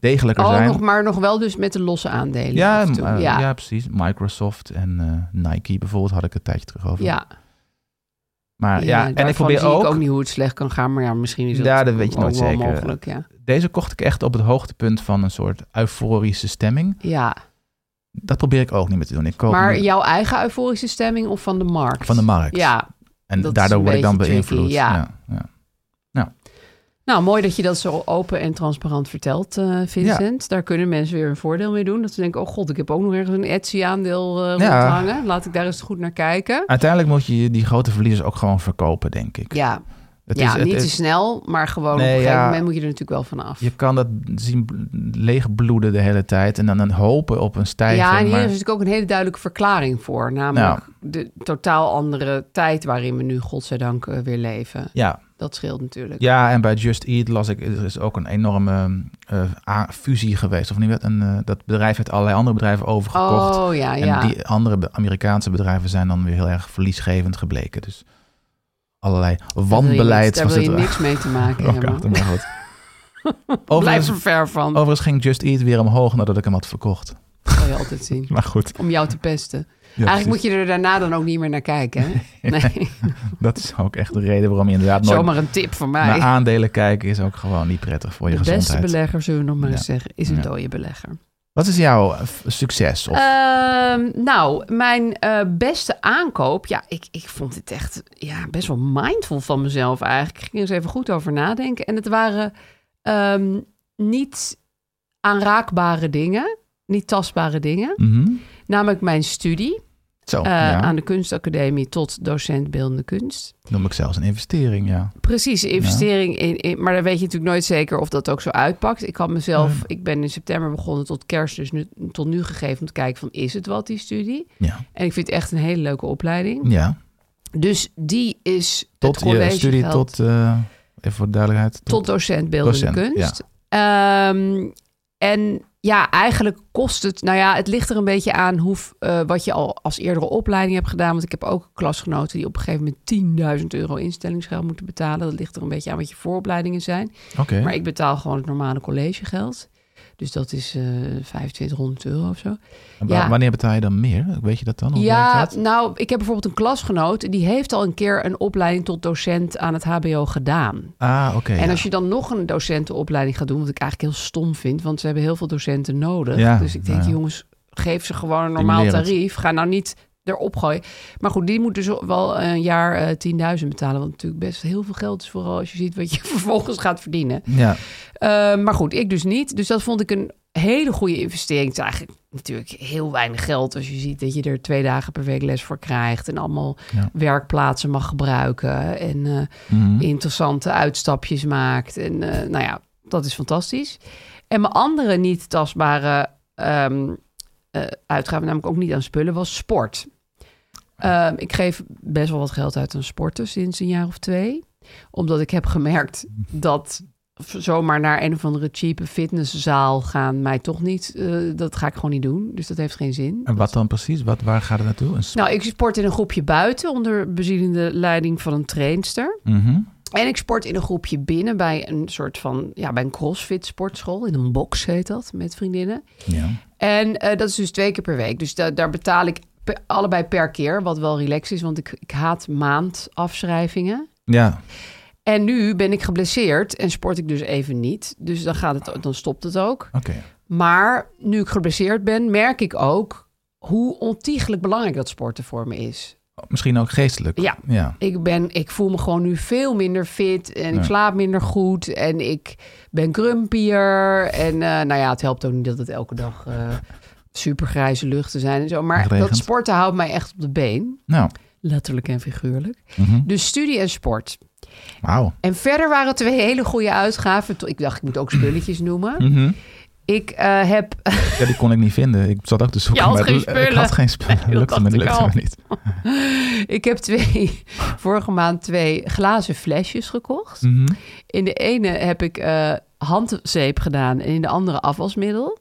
degelijker Oh, zijn. nog, maar nog wel dus met de losse aandelen. ja, af en toe. eh, ja. ja. precies. Microsoft en eh, Nike bijvoorbeeld had ik een tijdje terug over. ja. maar, ja, en ik daarvan probeer zie ook, ik ook niet hoe het slecht kan gaan, maar ja, misschien is het Ja, dat weet je ook nooit wel zeker. mogelijk. Ja. Deze kocht ik echt op het hoogtepunt van een soort euforische stemming. ja. Dat probeer ik ook niet meer te doen. Ik koop Maar nu jouw eigen euforische stemming of van de markt? van de markt. Ja. en dat is daardoor een word ik dan beetje tricky, beïnvloed. ja. Ja, ja. Nou, mooi dat je dat zo open en transparant vertelt, eh, Vincent. Daar kunnen mensen weer een voordeel mee doen. Dat ze denken, oh god, ik heb ook nog ergens een Etsy-aandeel eh Ja. rondhangen. Laat ik daar eens goed naar kijken. Uiteindelijk moet je die grote verliezers ook gewoon verkopen, denk ik. Ja, Het ja, het niet te snel, maar gewoon Nee, op een gegeven ja. moment moet je er natuurlijk wel van af. Je kan dat zien bl- leegbloeden de hele tijd en dan een hopen op een stijging. Ja, en hier maar- Nou. is natuurlijk ook een hele duidelijke verklaring voor. Namelijk de totaal andere tijd waarin we nu, godzijdank, eh, weer leven. ja, Dat scheelt natuurlijk. Ja, en bij Just Eat las ik, er is ook een enorme eh, a- fusie geweest. Of niet? Werd Een, eh, dat bedrijf heeft allerlei andere bedrijven overgekocht. oh ja, ja. En die andere be- Amerikaanse bedrijven zijn dan weer heel erg verliesgevend gebleken. Dus allerlei Daar wil je niks- wanbeleid Daar wil je er niks mee te maken ook hebben. achter, Oh, maar goed. Blijf overigens, Oh. er ver van. overigens ging Just Eat weer omhoog nadat ik hem had verkocht. Dat zal je altijd zien. Maar goed. Om jou te pesten. ja, Eigenlijk precies. moet je er daarna dan ook niet meer naar kijken. Hè? Nee, Dat is ook echt de reden waarom je inderdaad nooit zomaar een tip van mij. naar aandelen kijken is ook gewoon niet prettig voor je de beste gezondheid. belegger, zullen we nog maar Ja. eens zeggen, is een Ja. dode belegger. Wat is jouw eh, f- succes? Of Ehm, nou, mijn eh, beste aankoop. Ja, ik, ik vond dit echt ja, best wel mindful van mezelf eigenlijk. Ik ging er eens even goed over nadenken. En het waren ehm, niet aanraakbare dingen, niet tastbare dingen. Mhm. Namelijk mijn studie Zo, eh, Oh, ja. aan de kunstacademie tot docent beeldende kunst. noem ik zelfs een investering, ja. Precies, investering in, in- Maar dan weet je natuurlijk nooit zeker of dat ook zo uitpakt. Ik had mezelf... Ik ben in september begonnen tot kerst, dus nu, tot nu gegeven... om te kijken van, is het wat, die studie? Ja, En ik vind het echt een hele leuke opleiding. ja. Dus die is tot het je studie, collegegeld tot, eh, even voor de duidelijkheid. tot docent beeldende Docent, kunst. Ehm, en ja, eigenlijk kost het... Nou ja, het ligt er een beetje aan hoe, v- eh, wat je al als eerdere opleiding hebt gedaan. Want ik heb ook klasgenoten die op een gegeven moment 10.000 euro instellingsgeld moeten betalen. Dat ligt er een beetje aan wat je vooropleidingen zijn. Oké, Maar ik betaal gewoon het normale collegegeld. Dus dat is eh 2500 euro of zo. En wa- ja. wanneer betaal je dan meer? Weet je dat dan? Hoe ja, werkt dat? nou, ik heb bijvoorbeeld een klasgenoot... die heeft al een keer een opleiding tot docent aan het hbo gedaan. Ah, oké. En ja. als je dan nog een docentenopleiding gaat doen... wat ik eigenlijk heel stom vind, want ze hebben heel veel docenten nodig. Ja, dus ik denk, nou ja. jongens, geef ze gewoon een normaal Stimuleer het. tarief. Ga nou niet erop gooien. Maar goed, die moet dus wel een jaar eh 10.000 betalen... wat natuurlijk best heel veel geld is... vooral als je ziet wat je vervolgens gaat verdienen. Ja, Eh, maar goed, ik dus niet. Dus dat vond ik een hele goede investering. Het is eigenlijk natuurlijk heel weinig geld als je ziet dat je er twee dagen per week les voor krijgt en allemaal Ja. werkplaatsen mag gebruiken en eh, Mhm. interessante uitstapjes maakt. En eh, nou ja, dat is fantastisch. En mijn andere niet tastbare ehm eh, uitgave, namelijk ook niet aan spullen, was sport. Ehm, ik geef best wel wat geld uit aan sporten sinds een jaar of twee. Omdat ik heb gemerkt dat zomaar naar een of andere cheap fitnesszaal gaan mij toch niet. eh, dat ga ik gewoon niet doen. Dus dat heeft geen zin. en wat dan precies? Wat, waar gaat het naartoe? Een sp- Nou, ik sport in een groepje buiten onder bezielende leiding van een trainster. Mhm. En ik sport in een groepje binnen bij een soort van, ja, bij een crossfit sportschool. In een box heet dat, met vriendinnen. Ja. En eh, dat is dus twee keer per week. Dus da- daar betaal ik pe- allebei per keer, wat wel relaxed is. Want ik, ik haat maandafschrijvingen. ja, En nu ben ik geblesseerd en sport ik dus even niet. Dus dan, gaat het, dan stopt het ook. oké. Maar nu ik geblesseerd ben, merk ik ook hoe ontiegelijk belangrijk dat sporten voor me is. Misschien ook geestelijk. Ja. ja. Ik, ben, ik voel me gewoon nu veel minder fit en Ja. ik slaap minder goed en ik ben grumpier. En eh, nou ja, het helpt ook niet dat het elke dag eh supergrijze luchten zijn en zo. Het Maar regent. dat sporten houdt mij echt op de been, Nou, letterlijk en figuurlijk. mhm. Dus studie en sport. wauw. En verder waren het twee hele goede uitgaven. Ik dacht, ik moet ook spulletjes noemen. Mhm. Ik eh, heb Ja, die kon ik niet vinden. Ik zat ook te zoeken, Je had maar het geen lu- ik spullen. had geen spullen. Lukte me, dacht ik lukte al. me niet. Ik heb twee, vorige maand twee glazen flesjes gekocht. Mhm. In de ene heb ik eh, handzeep gedaan en in de andere afwasmiddel.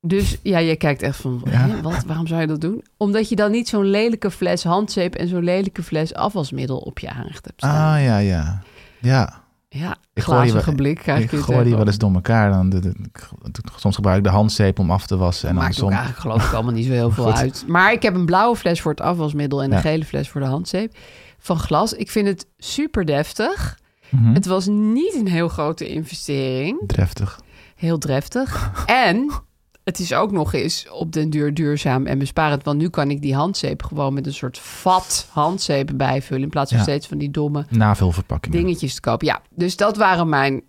Dus ja, je kijkt echt van, Ja. hè, wat, waarom zou je dat doen? Omdat je dan niet zo'n lelijke fles handzeep en zo'n lelijke fles afwasmiddel op je aanrecht hebt staan. Ah, ja, ja. Ja. ja, Ik gooi die glazige wel- blik krijg Ik je het gooi die even. wel eens door elkaar. Dan de- de- ik- soms gebruik ik de handzeep om af te wassen. En dan Maakt ook soms... eigenlijk geloof ik allemaal niet zo heel veel Goed. uit. Maar ik heb een blauwe fles voor het afwasmiddel en Ja. een gele fles voor de handzeep van glas. Ik vind het super deftig. Mhm. Het was niet een heel grote investering. Dreftig. Heel dreftig. en het is ook nog eens op den duur duurzaam en besparend. Want nu kan ik die handzeep gewoon met een soort vat handzeep bijvullen. In plaats van Ja. steeds van die domme Navulverpakkingen. dingetjes te kopen. Ja, dus dat waren mijn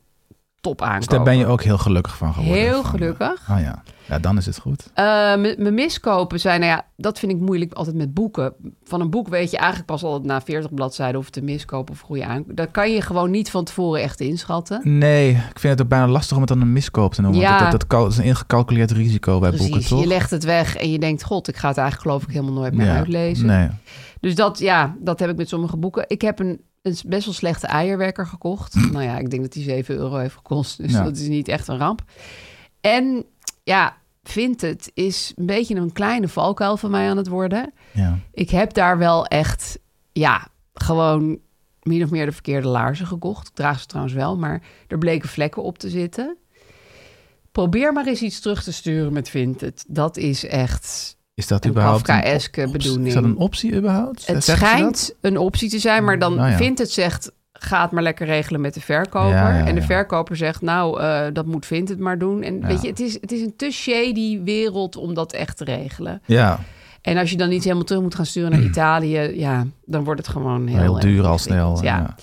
top aankopen. Dus daar ben je ook heel gelukkig van geworden. Heel Van, eh, gelukkig. Ah ja. ja, dan is het goed. Eh, m- Mijn miskopen zijn, nou ja, dat vind ik moeilijk altijd met boeken. Van een boek weet je eigenlijk pas al na 40 bladzijden of het een miskoop of goede aankoop. Dat kan je gewoon niet van tevoren echt inschatten. Nee, ik vind het ook bijna lastig om het dan een miskoop te noemen. Ja. want Dat, dat, kal- is een ingecalculeerd risico bij boeken, Precies, toch? je legt het weg en je denkt, god, ik ga het eigenlijk geloof ik helemaal nooit meer Ja. uitlezen. Nee. Dus dat, ja, dat heb ik met sommige boeken. Ik heb een, een best wel slechte eierwerker gekocht. nou ja, ik denk dat die 7 euro heeft gekost. Dus Ja. dat is niet echt een ramp. En ja, vindt het is een beetje een kleine valkuil van mij aan het worden. Ja. Ik heb daar wel echt, ja, gewoon min of meer de verkeerde laarzen gekocht. Ik draag ze trouwens wel, maar er bleken vlekken op te zitten. Probeer maar eens iets terug te sturen met Vinted. Dat is echt Is dat een überhaupt een Kafkaeske optie? bedoeling. Is dat een optie überhaupt? Het Zeggen ze dat? schijnt een optie te zijn, maar dan Nou ja. vindt het zegt... ga het maar lekker regelen met de verkoper. Ja, ja, en de ja. verkoper zegt, nou, eh, dat moet vindt het maar doen. En Ja. weet je, het is, het is een te shady wereld om dat echt te regelen. Ja, En als je dan niet helemaal terug moet gaan sturen naar Italië... ja, dan wordt het gewoon heel, heel, duur al ingewikkeld. snel. Ja. ja.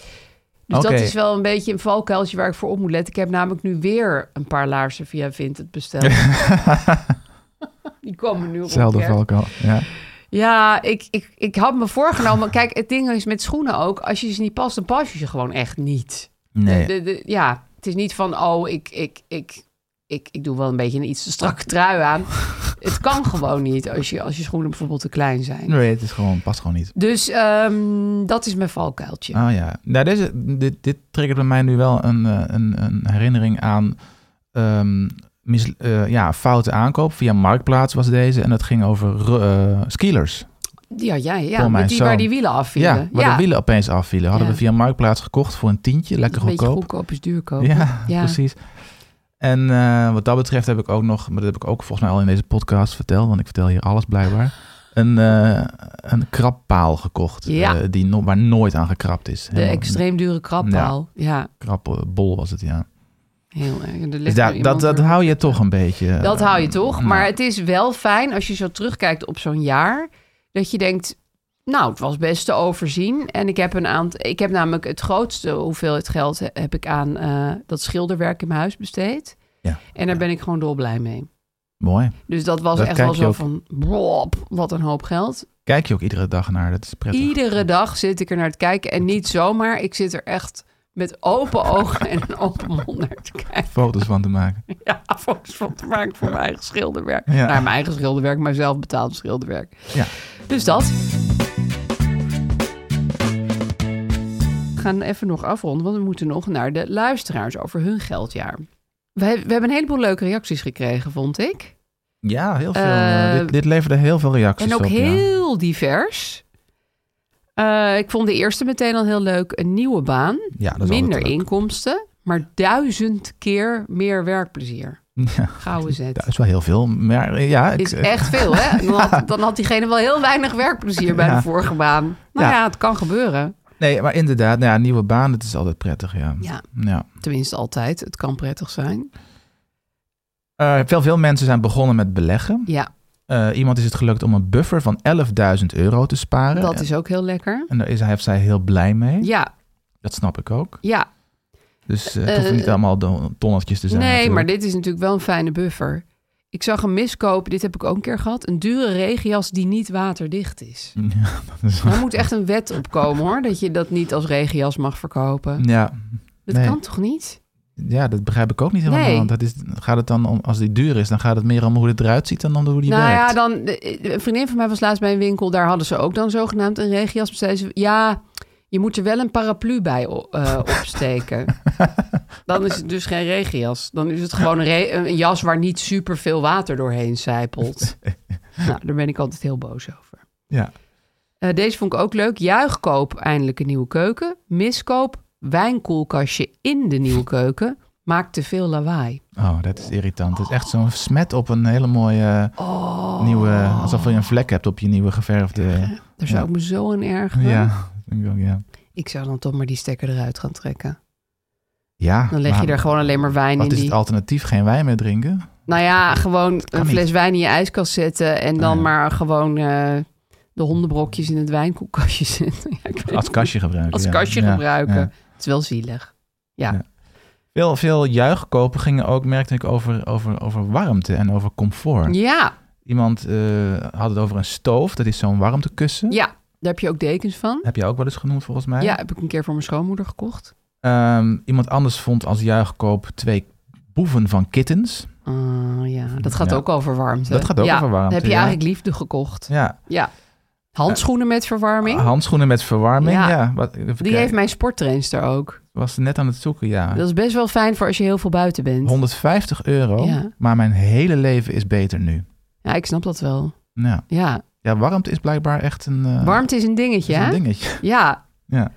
Dus Oké. dat is wel een beetje een valkuiltje waar ik voor op moet letten. Ik heb namelijk nu weer een paar laarzen via Vinted besteld. Die komen nu op Hetzelfde kerst. valkuil. Ja. Ja, ik, ik, ik had me voorgenomen. Kijk, het ding is met schoenen ook. Als je ze niet past, dan pas je ze gewoon echt niet. Nee. De- de- ja, het is niet van, oh, ik, ik, ik, ik, ik doe wel een beetje een iets te strakke trui aan. het kan gewoon niet als je, als je schoenen bijvoorbeeld te klein zijn. nee, het is gewoon, past gewoon niet. Dus ehm, dat is mijn valkuiltje. Ah ja. Nou, deze, dit, dit triggert bij mij nu wel een, eh, een, een herinnering aan ehm, mis, eh, ja, foute aankoop. Via Marktplaats was deze. En dat ging over ru- eh skilers. Ja, ja, ja. Voor mijn Met die, waar zoon. die wielen afvielen. Ja, waar de wielen opeens afvielen. Hadden Ja. we via Marktplaats gekocht voor een tientje. Lekker Een beetje goedkoop. goedkoop is duurkoop. Ja, Ja. precies. En eh, wat dat betreft heb ik ook nog, maar dat heb ik ook volgens mij al in deze podcast verteld, want ik vertel hier alles blijkbaar. Een, eh een krabpaal gekocht, Ja. eh, die no- waar nooit aan gekrapt is. De extreem dure krabpaal. Ja. bol was het, ja. heel erg. Er ligt Dus nu daar- dat, iemand dat er- hou je toch een beetje. Dat hou je toch? nou. Maar het is wel fijn als je zo terugkijkt op zo'n jaar. Dat je denkt, nou, het was best te overzien. En ik heb, een aantal, ik heb namelijk het grootste hoeveelheid geld he- heb ik aan eh, dat schilderwerk in mijn huis besteed. Ja. En daar ben ik gewoon dolblij mee. Mooi. Dus dat was Dat echt kijk wel je zo ook- van, blop, wat een hoop geld. Kijk je ook iedere dag naar, dat is prettig. Iedere dag zit ik er naar te kijken. En niet zomaar, ik zit er echt met open ogen en een open mond naar te kijken. Foto's van te maken. Ja, foto's van te maken voor mijn eigen schilderwerk. Ja. Naar mijn eigen schilderwerk, maar zelf betaald schilderwerk. Ja. Dus dat. We gaan even nog afronden, want we moeten nog naar de luisteraars over hun geldjaar. We, he- we hebben een heleboel leuke reacties gekregen, vond ik. Ja, heel veel. Eh, eh, dit, dit leverde heel veel reacties En ook op. ja. heel divers. Eh, ik vond de eerste meteen al heel leuk. Een nieuwe baan, Ja, dat is minder altijd leuk. inkomsten, maar duizend keer meer werkplezier. Ja, Gouden zet. dat is wel heel veel. Maar eh, ja, ik- is echt veel, hè? Dan had, dan had diegene wel heel weinig werkplezier bij de Ja. vorige baan. Nou ja. Ja. het kan gebeuren. Nee, maar inderdaad, nou ja, nieuwe baan, het is altijd prettig, ja. Ja, ja. tenminste altijd. Het kan prettig zijn. Eh, veel, veel mensen zijn begonnen met beleggen. Ja, Eh, iemand is het gelukt om een buffer van 11.000 euro te sparen. dat is ook heel lekker. En daar is hij of zij heel blij mee. Ja, Dat snap ik ook. ja. Dus eh, het hoeft niet Eh, allemaal don- tonnetjes te zijn. nee, maar natuurlijk. dit is natuurlijk wel een fijne buffer. Ik zag een miskoop, dit heb ik ook een keer gehad. Een dure regenjas die niet waterdicht is. Ja, dat is... Daar moet echt een wet op komen hoor, dat je dat niet als regenjas mag verkopen. Ja. Dat nee. kan toch niet? ja, dat begrijp ik ook niet helemaal. Nee. Want dat is, gaat het dan om, als die duur is, dan gaat het meer om hoe het eruit ziet dan om hoe die nou werkt. ja, dan, de- een vriendin van mij was laatst bij een winkel. Daar hadden ze ook dan zogenaamd een regenjas. Maar Zei ze, ja, je moet er wel een paraplu bij o- eh, opsteken. dan is het dus geen regenjas. Dan is het gewoon een, re- een jas waar niet super veel water doorheen zijpelt. nou, daar ben ik altijd heel boos over. Ja. Eh, deze vond ik ook leuk. Juichkoop, eindelijk een nieuwe keuken. Miskoop, wijnkoelkastje in de nieuwe keuken. Maakt te veel lawaai. Oh, dat is irritant. Het is echt zo'n smet op een hele mooie Oh. nieuwe... Alsof je een vlek hebt op je nieuwe geverfde... Daar zou Ja. ik me zo aan ergeren. Ja, dat denk ik ook, ja. Ik zou dan toch maar die stekker eruit gaan trekken. Ja, Dan leg je maar er gewoon alleen maar wijn Wat in. is Die... het alternatief? Geen wijn meer drinken? Nou ja, gewoon kan een niet. Oh fles wijn in je ijskast zetten. En dan ja. maar gewoon eh, de hondenbrokjes in het wijnkoelkastje zetten. Ja, ik weet Als niet. kastje gebruiken. Als ja. kastje Ja, gebruiken. ja. Het is wel zielig. Ja. Ja. Veel, veel juichkopen gingen ook, merkte ik, over, over, over warmte en over comfort. Ja, Iemand eh, had het over een stoof, dat is zo'n warmtekussen. ja, daar heb je ook dekens van. Heb je ook wel eens genoemd volgens mij. Ja, heb ik een keer voor mijn schoonmoeder gekocht. Ehm, iemand anders vond als juichkoop twee boeven van kittens. Ah, ja, dat gaat Ja. ook over warmte. Dat gaat ook Ja, over warmte, Heb je ja. eigenlijk liefde gekocht? Ja, Ah, Ja. Handschoenen met verwarming. handschoenen met verwarming. Ja. Ja. Wat, even Die kijken. heeft mijn sporttrainster ook. was net aan het zoeken, ja. Dat is best wel fijn voor als je heel veel buiten bent. 150 euro, Ja. maar mijn hele leven is beter nu. Ja, ik snap dat wel. Ja, Ja, ja warmte is blijkbaar echt een, eh, warmte is een dingetje, is een hè? dingetje. Ja. Ja.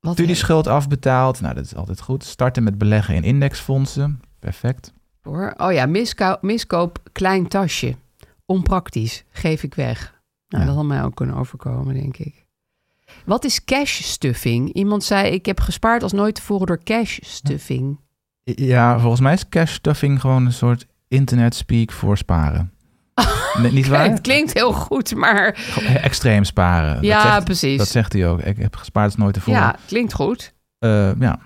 Wat Studieschuld afbetaald, nou dat is altijd goed. Starten met beleggen in indexfondsen, perfect. leuk, hoor. Oh ja, misko- miskoop klein tasje. Onpraktisch, geef ik weg. Nou, Ja. Dat had mij ook kunnen overkomen, denk ik. Wat is cash stuffing? Iemand zei, ik heb gespaard als nooit tevoren door cash stuffing. I- Ja, volgens mij is cash stuffing gewoon een soort internet speak voor sparen. Nee, niet waar? Oh, Het klinkt heel goed, maar Gewoon Extreem sparen. Ja, dat zegt, precies. Dat zegt hij ook. Ik heb gespaard is nooit ervoor. ja, klinkt goed. Eh, ja.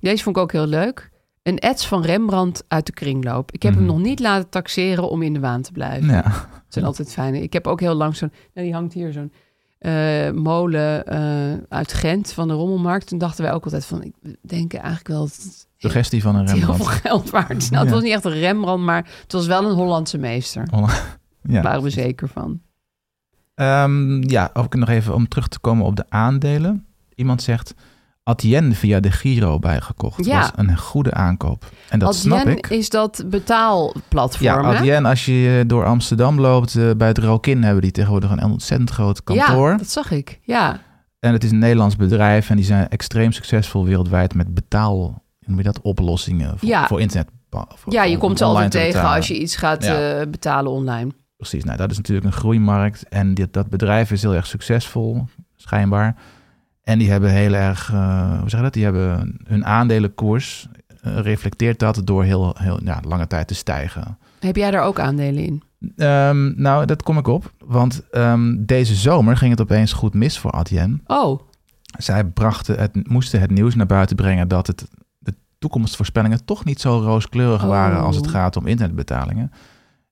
Deze vond ik ook heel leuk. Een ets van Rembrandt uit de kringloop. Ik heb Mhm. hem nog niet laten taxeren om in de waan te blijven. ja. Het zijn altijd fijne. Ik heb ook heel lang zo'n... Nou, die hangt hier zo'n eh, molen eh, uit Gent van de Rommelmarkt. Toen dachten wij ook altijd van... Ik denk eigenlijk wel dat het Suggestie van een heel veel Rembrandt. geld waard is. Nou, het Ja. was niet echt een Rembrandt, maar het was wel een Hollandse meester. Daar Ja. waren we zeker van. Ehm, ja, ook nog even om terug te komen op de aandelen. Iemand zegt, Adyen via de Giro bijgekocht. Ja. was een goede aankoop. En dat snap Adyen ik. is dat betaalplatform, Ja, hè? Adyen, als je door Amsterdam loopt, eh, bij het Rokin hebben die tegenwoordig een ontzettend groot kantoor. Ja, dat zag ik. Ja, En het is een Nederlands bedrijf en die zijn extreem succesvol wereldwijd met betaal, hoe noem je dat, oplossingen voor, Ja. voor internet. voor- ja je om komt ze online altijd te tegen betalen. als je iets gaat Ja. eh, betalen online. Precies, nou dat is natuurlijk een groeimarkt en dit, dat bedrijf is heel erg succesvol, schijnbaar. En die hebben heel erg, eh, hoe zeg je dat, die hebben hun aandelenkoers, eh, reflecteert dat door heel, heel ja, lange tijd te stijgen. Heb jij daar ook aandelen in? Ehm, nou, dat kom ik op, want ehm, deze zomer ging het opeens goed mis voor Adyen. Oh, zij brachten het, moesten het nieuws naar buiten brengen dat het, de toekomstvoorspellingen toch niet zo rooskleurig Oh. waren als het gaat om internetbetalingen.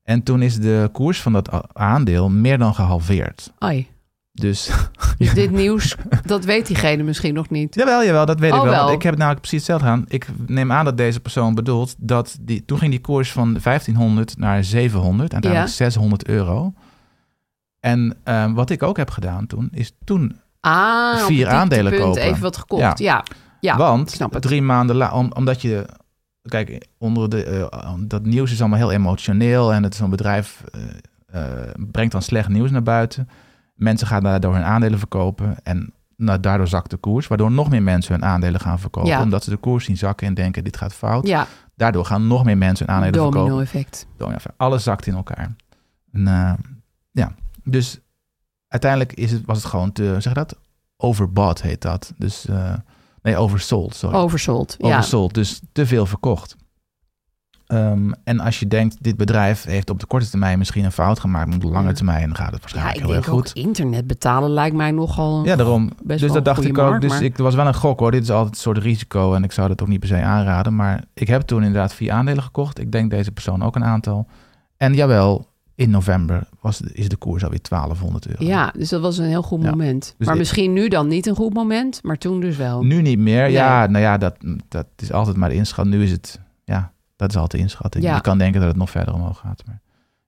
En toen is de koers van dat a- aandeel meer dan gehalveerd. ai. Dus Dus dit nieuws, dat weet diegene misschien nog niet. jawel, jawel, dat weet Oh, ik wel. want wel. Ik heb het namelijk precies hetzelfde aan. Ik neem aan dat deze persoon bedoelt dat die, toen ging die koers van 1500 naar 700, uiteindelijk 600 euro. En ehm, wat ik ook heb gedaan toen, is toen Ah, op het Vier aandelen dieptepunt kopen. Even wat gekocht. Ja, ja. Want ik snap het. drie maanden later, omdat je. Kijk, onder de, eh, dat nieuws is allemaal heel emotioneel. En het is een bedrijf. eh, eh, brengt dan slecht nieuws naar buiten. Mensen gaan daardoor hun aandelen verkopen. En nou, daardoor zakt de koers. Waardoor nog meer mensen hun aandelen gaan verkopen. Ja. Omdat ze de koers zien zakken en denken: dit gaat fout. Ja, Daardoor gaan nog meer mensen hun aandelen verkopen. domino-effect. Domino effect. Alles zakt in elkaar. En, eh, ja, dus uiteindelijk is het, was het gewoon te, hoe zeg je dat? Overbought heet dat. Dus, eh, nee, oversold, sorry. Oversold. Ja. Oversold, dus te veel verkocht. Ehm, en als je denkt, dit bedrijf heeft op de korte termijn misschien een fout gemaakt, maar op de lange Ja. termijn gaat Hmm. het ja, waarschijnlijk ik heel erg denk ook goed. internet betalen lijkt mij nogal... Ja, daarom. wel dus een dat dacht goede ik ook. markt, dus maar- ik, het was wel een gok hoor. Dit is altijd een soort risico en ik zou dat ook niet per se aanraden. Maar ik heb toen inderdaad vier aandelen gekocht. Ik denk deze persoon ook een aantal. En jawel, in november was, is de koers alweer 1200 euro. Ja, dus dat was een heel goed Ja. moment. Dus maar ik- misschien nu dan niet een goed moment, maar toen dus wel. Nu niet meer. Ja, Nee. nou ja, dat, dat is altijd maar de inschatting. Nu is het, ja, dat is altijd de inschatting. Ja. Je kan denken dat het nog verder omhoog gaat. Maar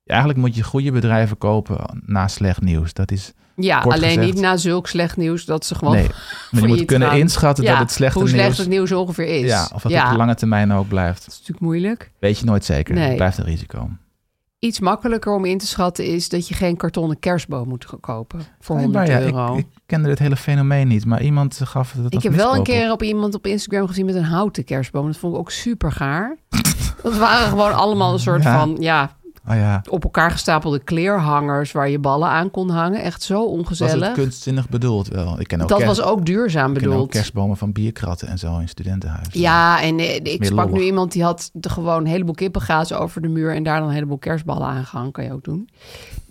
ja, eigenlijk moet je goede bedrijven kopen na slecht nieuws. Dat is, ja, kort alleen gezegd- niet na zulk slecht nieuws dat ze gewoon... nee. Maar je moet failliet kunnen gaan. inschatten Ja, dat het slechte hoe nieuws... slecht het nieuws ongeveer is. Ja, of dat ja. het op de lange termijn ook blijft. Dat is natuurlijk moeilijk. Weet je nooit zeker. Nee. Het blijft een risico. Iets makkelijker om in te schatten is dat je geen kartonnen kerstboom moet gaan kopen voor maar 100 ja, euro. ik, ik kende dit hele fenomeen niet, maar iemand gaf het Ik heb wel een keer op iemand op Instagram gezien met een houten kerstboom. Dat vond ik ook super gaar. dat waren gewoon allemaal een soort Ja. van ja, Oh ja, op elkaar gestapelde kleerhangers waar je ballen aan kon hangen. Echt zo was ongezellig. het kunstzinnig bedoeld wel? Ik ken ook, dat kerst- was ook duurzaam ik nou ken ook bedoeld. kerstbomen van bierkratten en zo in studentenhuizen. Ja, en eh, ik Meer sprak nu lollig. iemand die had de- gewoon een heleboel kippengazen over de muur en daar dan een heleboel kerstballen aan gehangen. Kan je ook doen.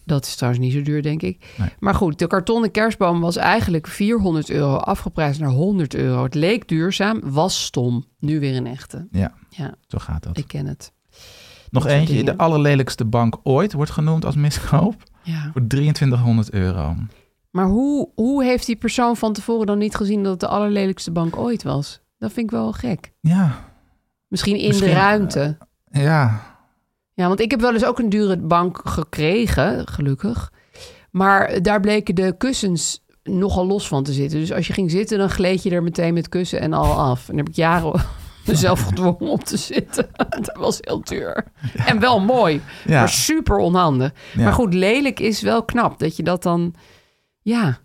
Dat is trouwens niet zo duur, denk ik. Nee. Maar goed, de kartonnen kerstboom was eigenlijk 400 euro afgeprijsd naar 100 euro. Het leek duurzaam, was stom. Nu weer een echte. Ja, Ja, zo gaat dat. ik ken het. Nog soort eentje. dingen. De allerlelijkste bank ooit wordt genoemd als miskoop. Ja. Voor 2300 euro. Maar hoe, hoe heeft die persoon van tevoren dan niet gezien dat het de allerlelijkste bank ooit was? Dat vind ik wel gek. Ja, Misschien in Misschien, de eh, ruimte. ja. Ja, want ik heb wel eens ook een dure bank gekregen, gelukkig. Maar daar bleken de kussens nogal los van te zitten. Dus als je ging zitten, dan gleed je er meteen met kussen en al af. En daar heb ik jaren mezelf gedwongen om te zitten. Dat was heel duur. En wel mooi, Ja. maar super onhandig. Ja. Maar goed, lelijk is wel knap dat je dat dan... Ja,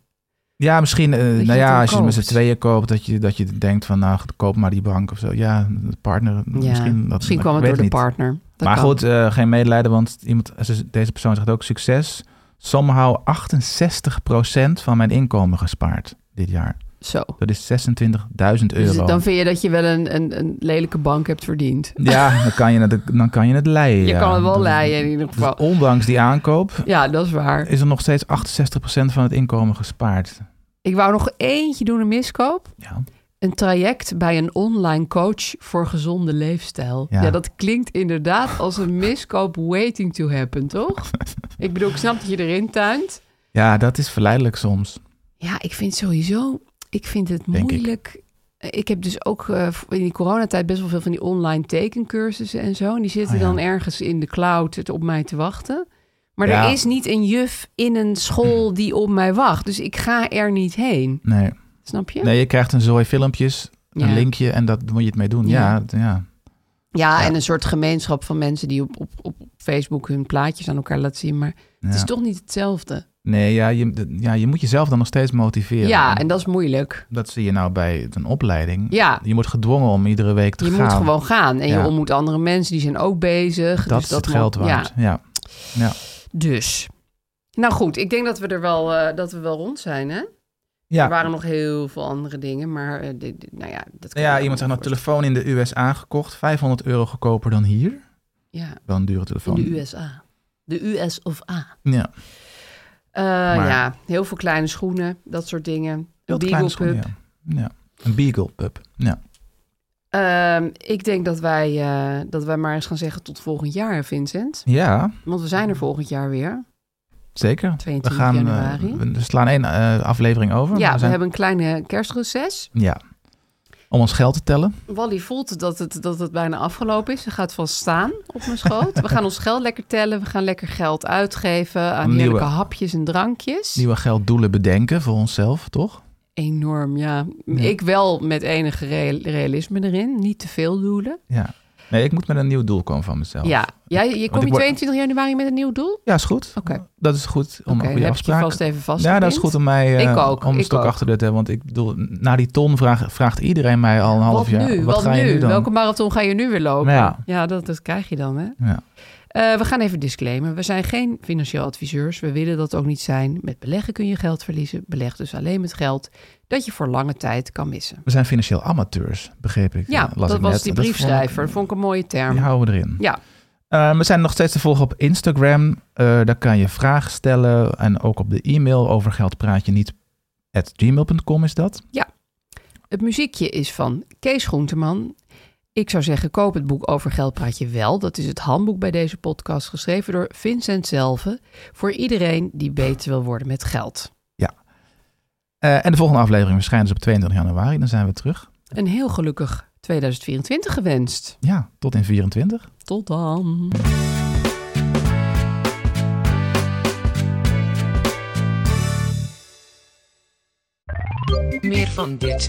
Ja, misschien, eh, je nou het ja, dan als je het met z'n koopt. tweeën koopt, dat je, dat je denkt van, nou, koop maar die bank of zo. Ja, de partner, ja. misschien. Dat, ik kwam het weet door de niet. partner. Dat maar kan. goed, eh, geen medelijden, want iemand, ze- deze persoon zegt ook succes. Somehow 68% van mijn inkomen gespaard dit jaar. Zo. Dat is 26.000 Dus euro. dan vind je dat je wel een, een, een lelijke bank hebt verdiend. Ja, dan kan je het, dan kan je het leien. Je ja. kan het wel Dat- leien in ieder dus geval. ondanks die aankoop Ja, dat is waar. is er nog steeds 68% van het inkomen gespaard. Ik wou nog eentje doen, een miskoop. Ja. Een traject bij een online coach voor gezonde leefstijl. Ja, Ja. dat klinkt inderdaad als een miskoop waiting to happen, toch? ik bedoel, ik snap dat je erin tuint. ja, dat is verleidelijk soms. Ja, ik vind sowieso, ik vind het Denk ik. moeilijk. Ik. heb dus ook eh, in die coronatijd best wel veel van die online tekencursussen en zo. En die zitten Ah, ja. dan ergens in de cloud het op mij te wachten. Maar Ja. er is niet een juf in een school die op mij wacht. Dus ik ga er niet heen. Nee. Snap je? Nee, je krijgt een zooi filmpjes, een Ja. linkje en dat moet je het mee doen. Ja, d- ja. Ja, en een soort gemeenschap van mensen die op, op, op Facebook hun plaatjes aan elkaar laten zien. Maar het is Ja. toch niet hetzelfde. Nee, ja je, d- ja, je moet jezelf dan nog steeds Ja, motiveren. en dat is moeilijk. Dat zie je nou bij een opleiding. Ja. Je wordt gedwongen om iedere week te Je gaan. moet gewoon gaan. En Ja. je ontmoet andere mensen, die zijn ook bezig. Dat Dus is het mo- geld waard. Ja, Ja. Ja. Ja. dus. Nou goed, ik denk dat we er wel, eh, dat we wel rond zijn, hè? Er waren nog heel veel andere dingen, maar eh, dit, dit- nou ja... Dat kan Nou ja, je iemand zegt nou, allemaal telefoon in de USA gekocht. 500 euro goedkoper dan hier. Ja, Wel een dure telefoon. in de USA. De US of A. Ja. Eh, Maar- Ja, heel veel kleine schoenen, dat soort dingen. Heel Beagle kleine schoenen, pup. ja. ja. Een beagle pup. Ja. Ehm, ik denk dat wij, eh, dat wij maar eens gaan zeggen tot volgend jaar, Vincent. ja, Want we zijn er volgend jaar weer. zeker. 22 we gaan, eh, januari. we- we slaan één eh, aflevering over. ja, maar we zijn- hebben een kleine kerstreces. Ja. Om ons geld te tellen. Wally voelt dat het, dat het bijna afgelopen is. Ze gaat vast staan op mijn schoot. We gaan ons geld lekker tellen. We gaan lekker geld uitgeven aan Nieuwe- heerlijke hapjes en drankjes. nieuwe gelddoelen bedenken voor onszelf, toch? Enorm, ja. Ik wel met enige real- realisme erin. Niet te veel doelen. Ja. Nee, ik moet met een nieuw doel komen van mezelf. Ja, jij, je Oh. ik komt word- 22 januari met een nieuw doel? Ja, is goed. Oké. Dat is goed. Oké, Om een heb goede ik je afspraak. vast even Ja, vastgepind. dat is goed om mij eh, Ik ook, om een ik stok ook. achter de te hebben. Want ik bedoel, na die ton vraag, vraagt iedereen mij al een half Wat jaar. nu? Wat, Wat, ga nu? je nu dan? Welke marathon ga je nu weer lopen? Ja. dat, dat krijg je dan, hè? Ja. Eh, we gaan even disclaimen. We zijn geen financieel adviseurs. We willen dat ook niet zijn. Met beleggen kun je geld verliezen. Beleg dus alleen met geld dat je voor lange tijd kan missen. We zijn financieel amateurs, begreep ik. Ja, eh, las dat ik was net. die vond ik- briefschrijver. Dat vond ik een mooie term. die Ja. houden we erin. Eh, we zijn nog steeds te volgen op Instagram. Eh, daar kan je vragen stellen. En ook op de e-mail over geld praat je niet. At gmail.com is dat. Het muziekje is van Kees Groenteman. Ik zou zeggen, koop het boek Over Geld Praat Je Wel. Dat is het handboek bij deze podcast, geschreven door Vincent Zelve. Voor iedereen die beter wil worden met geld. Eh, en de volgende aflevering verschijnt dus op 22 januari. Dan zijn we terug. Een heel gelukkig 2024 gewenst. Ja, tot in 24. Tot dan. Meer van dit.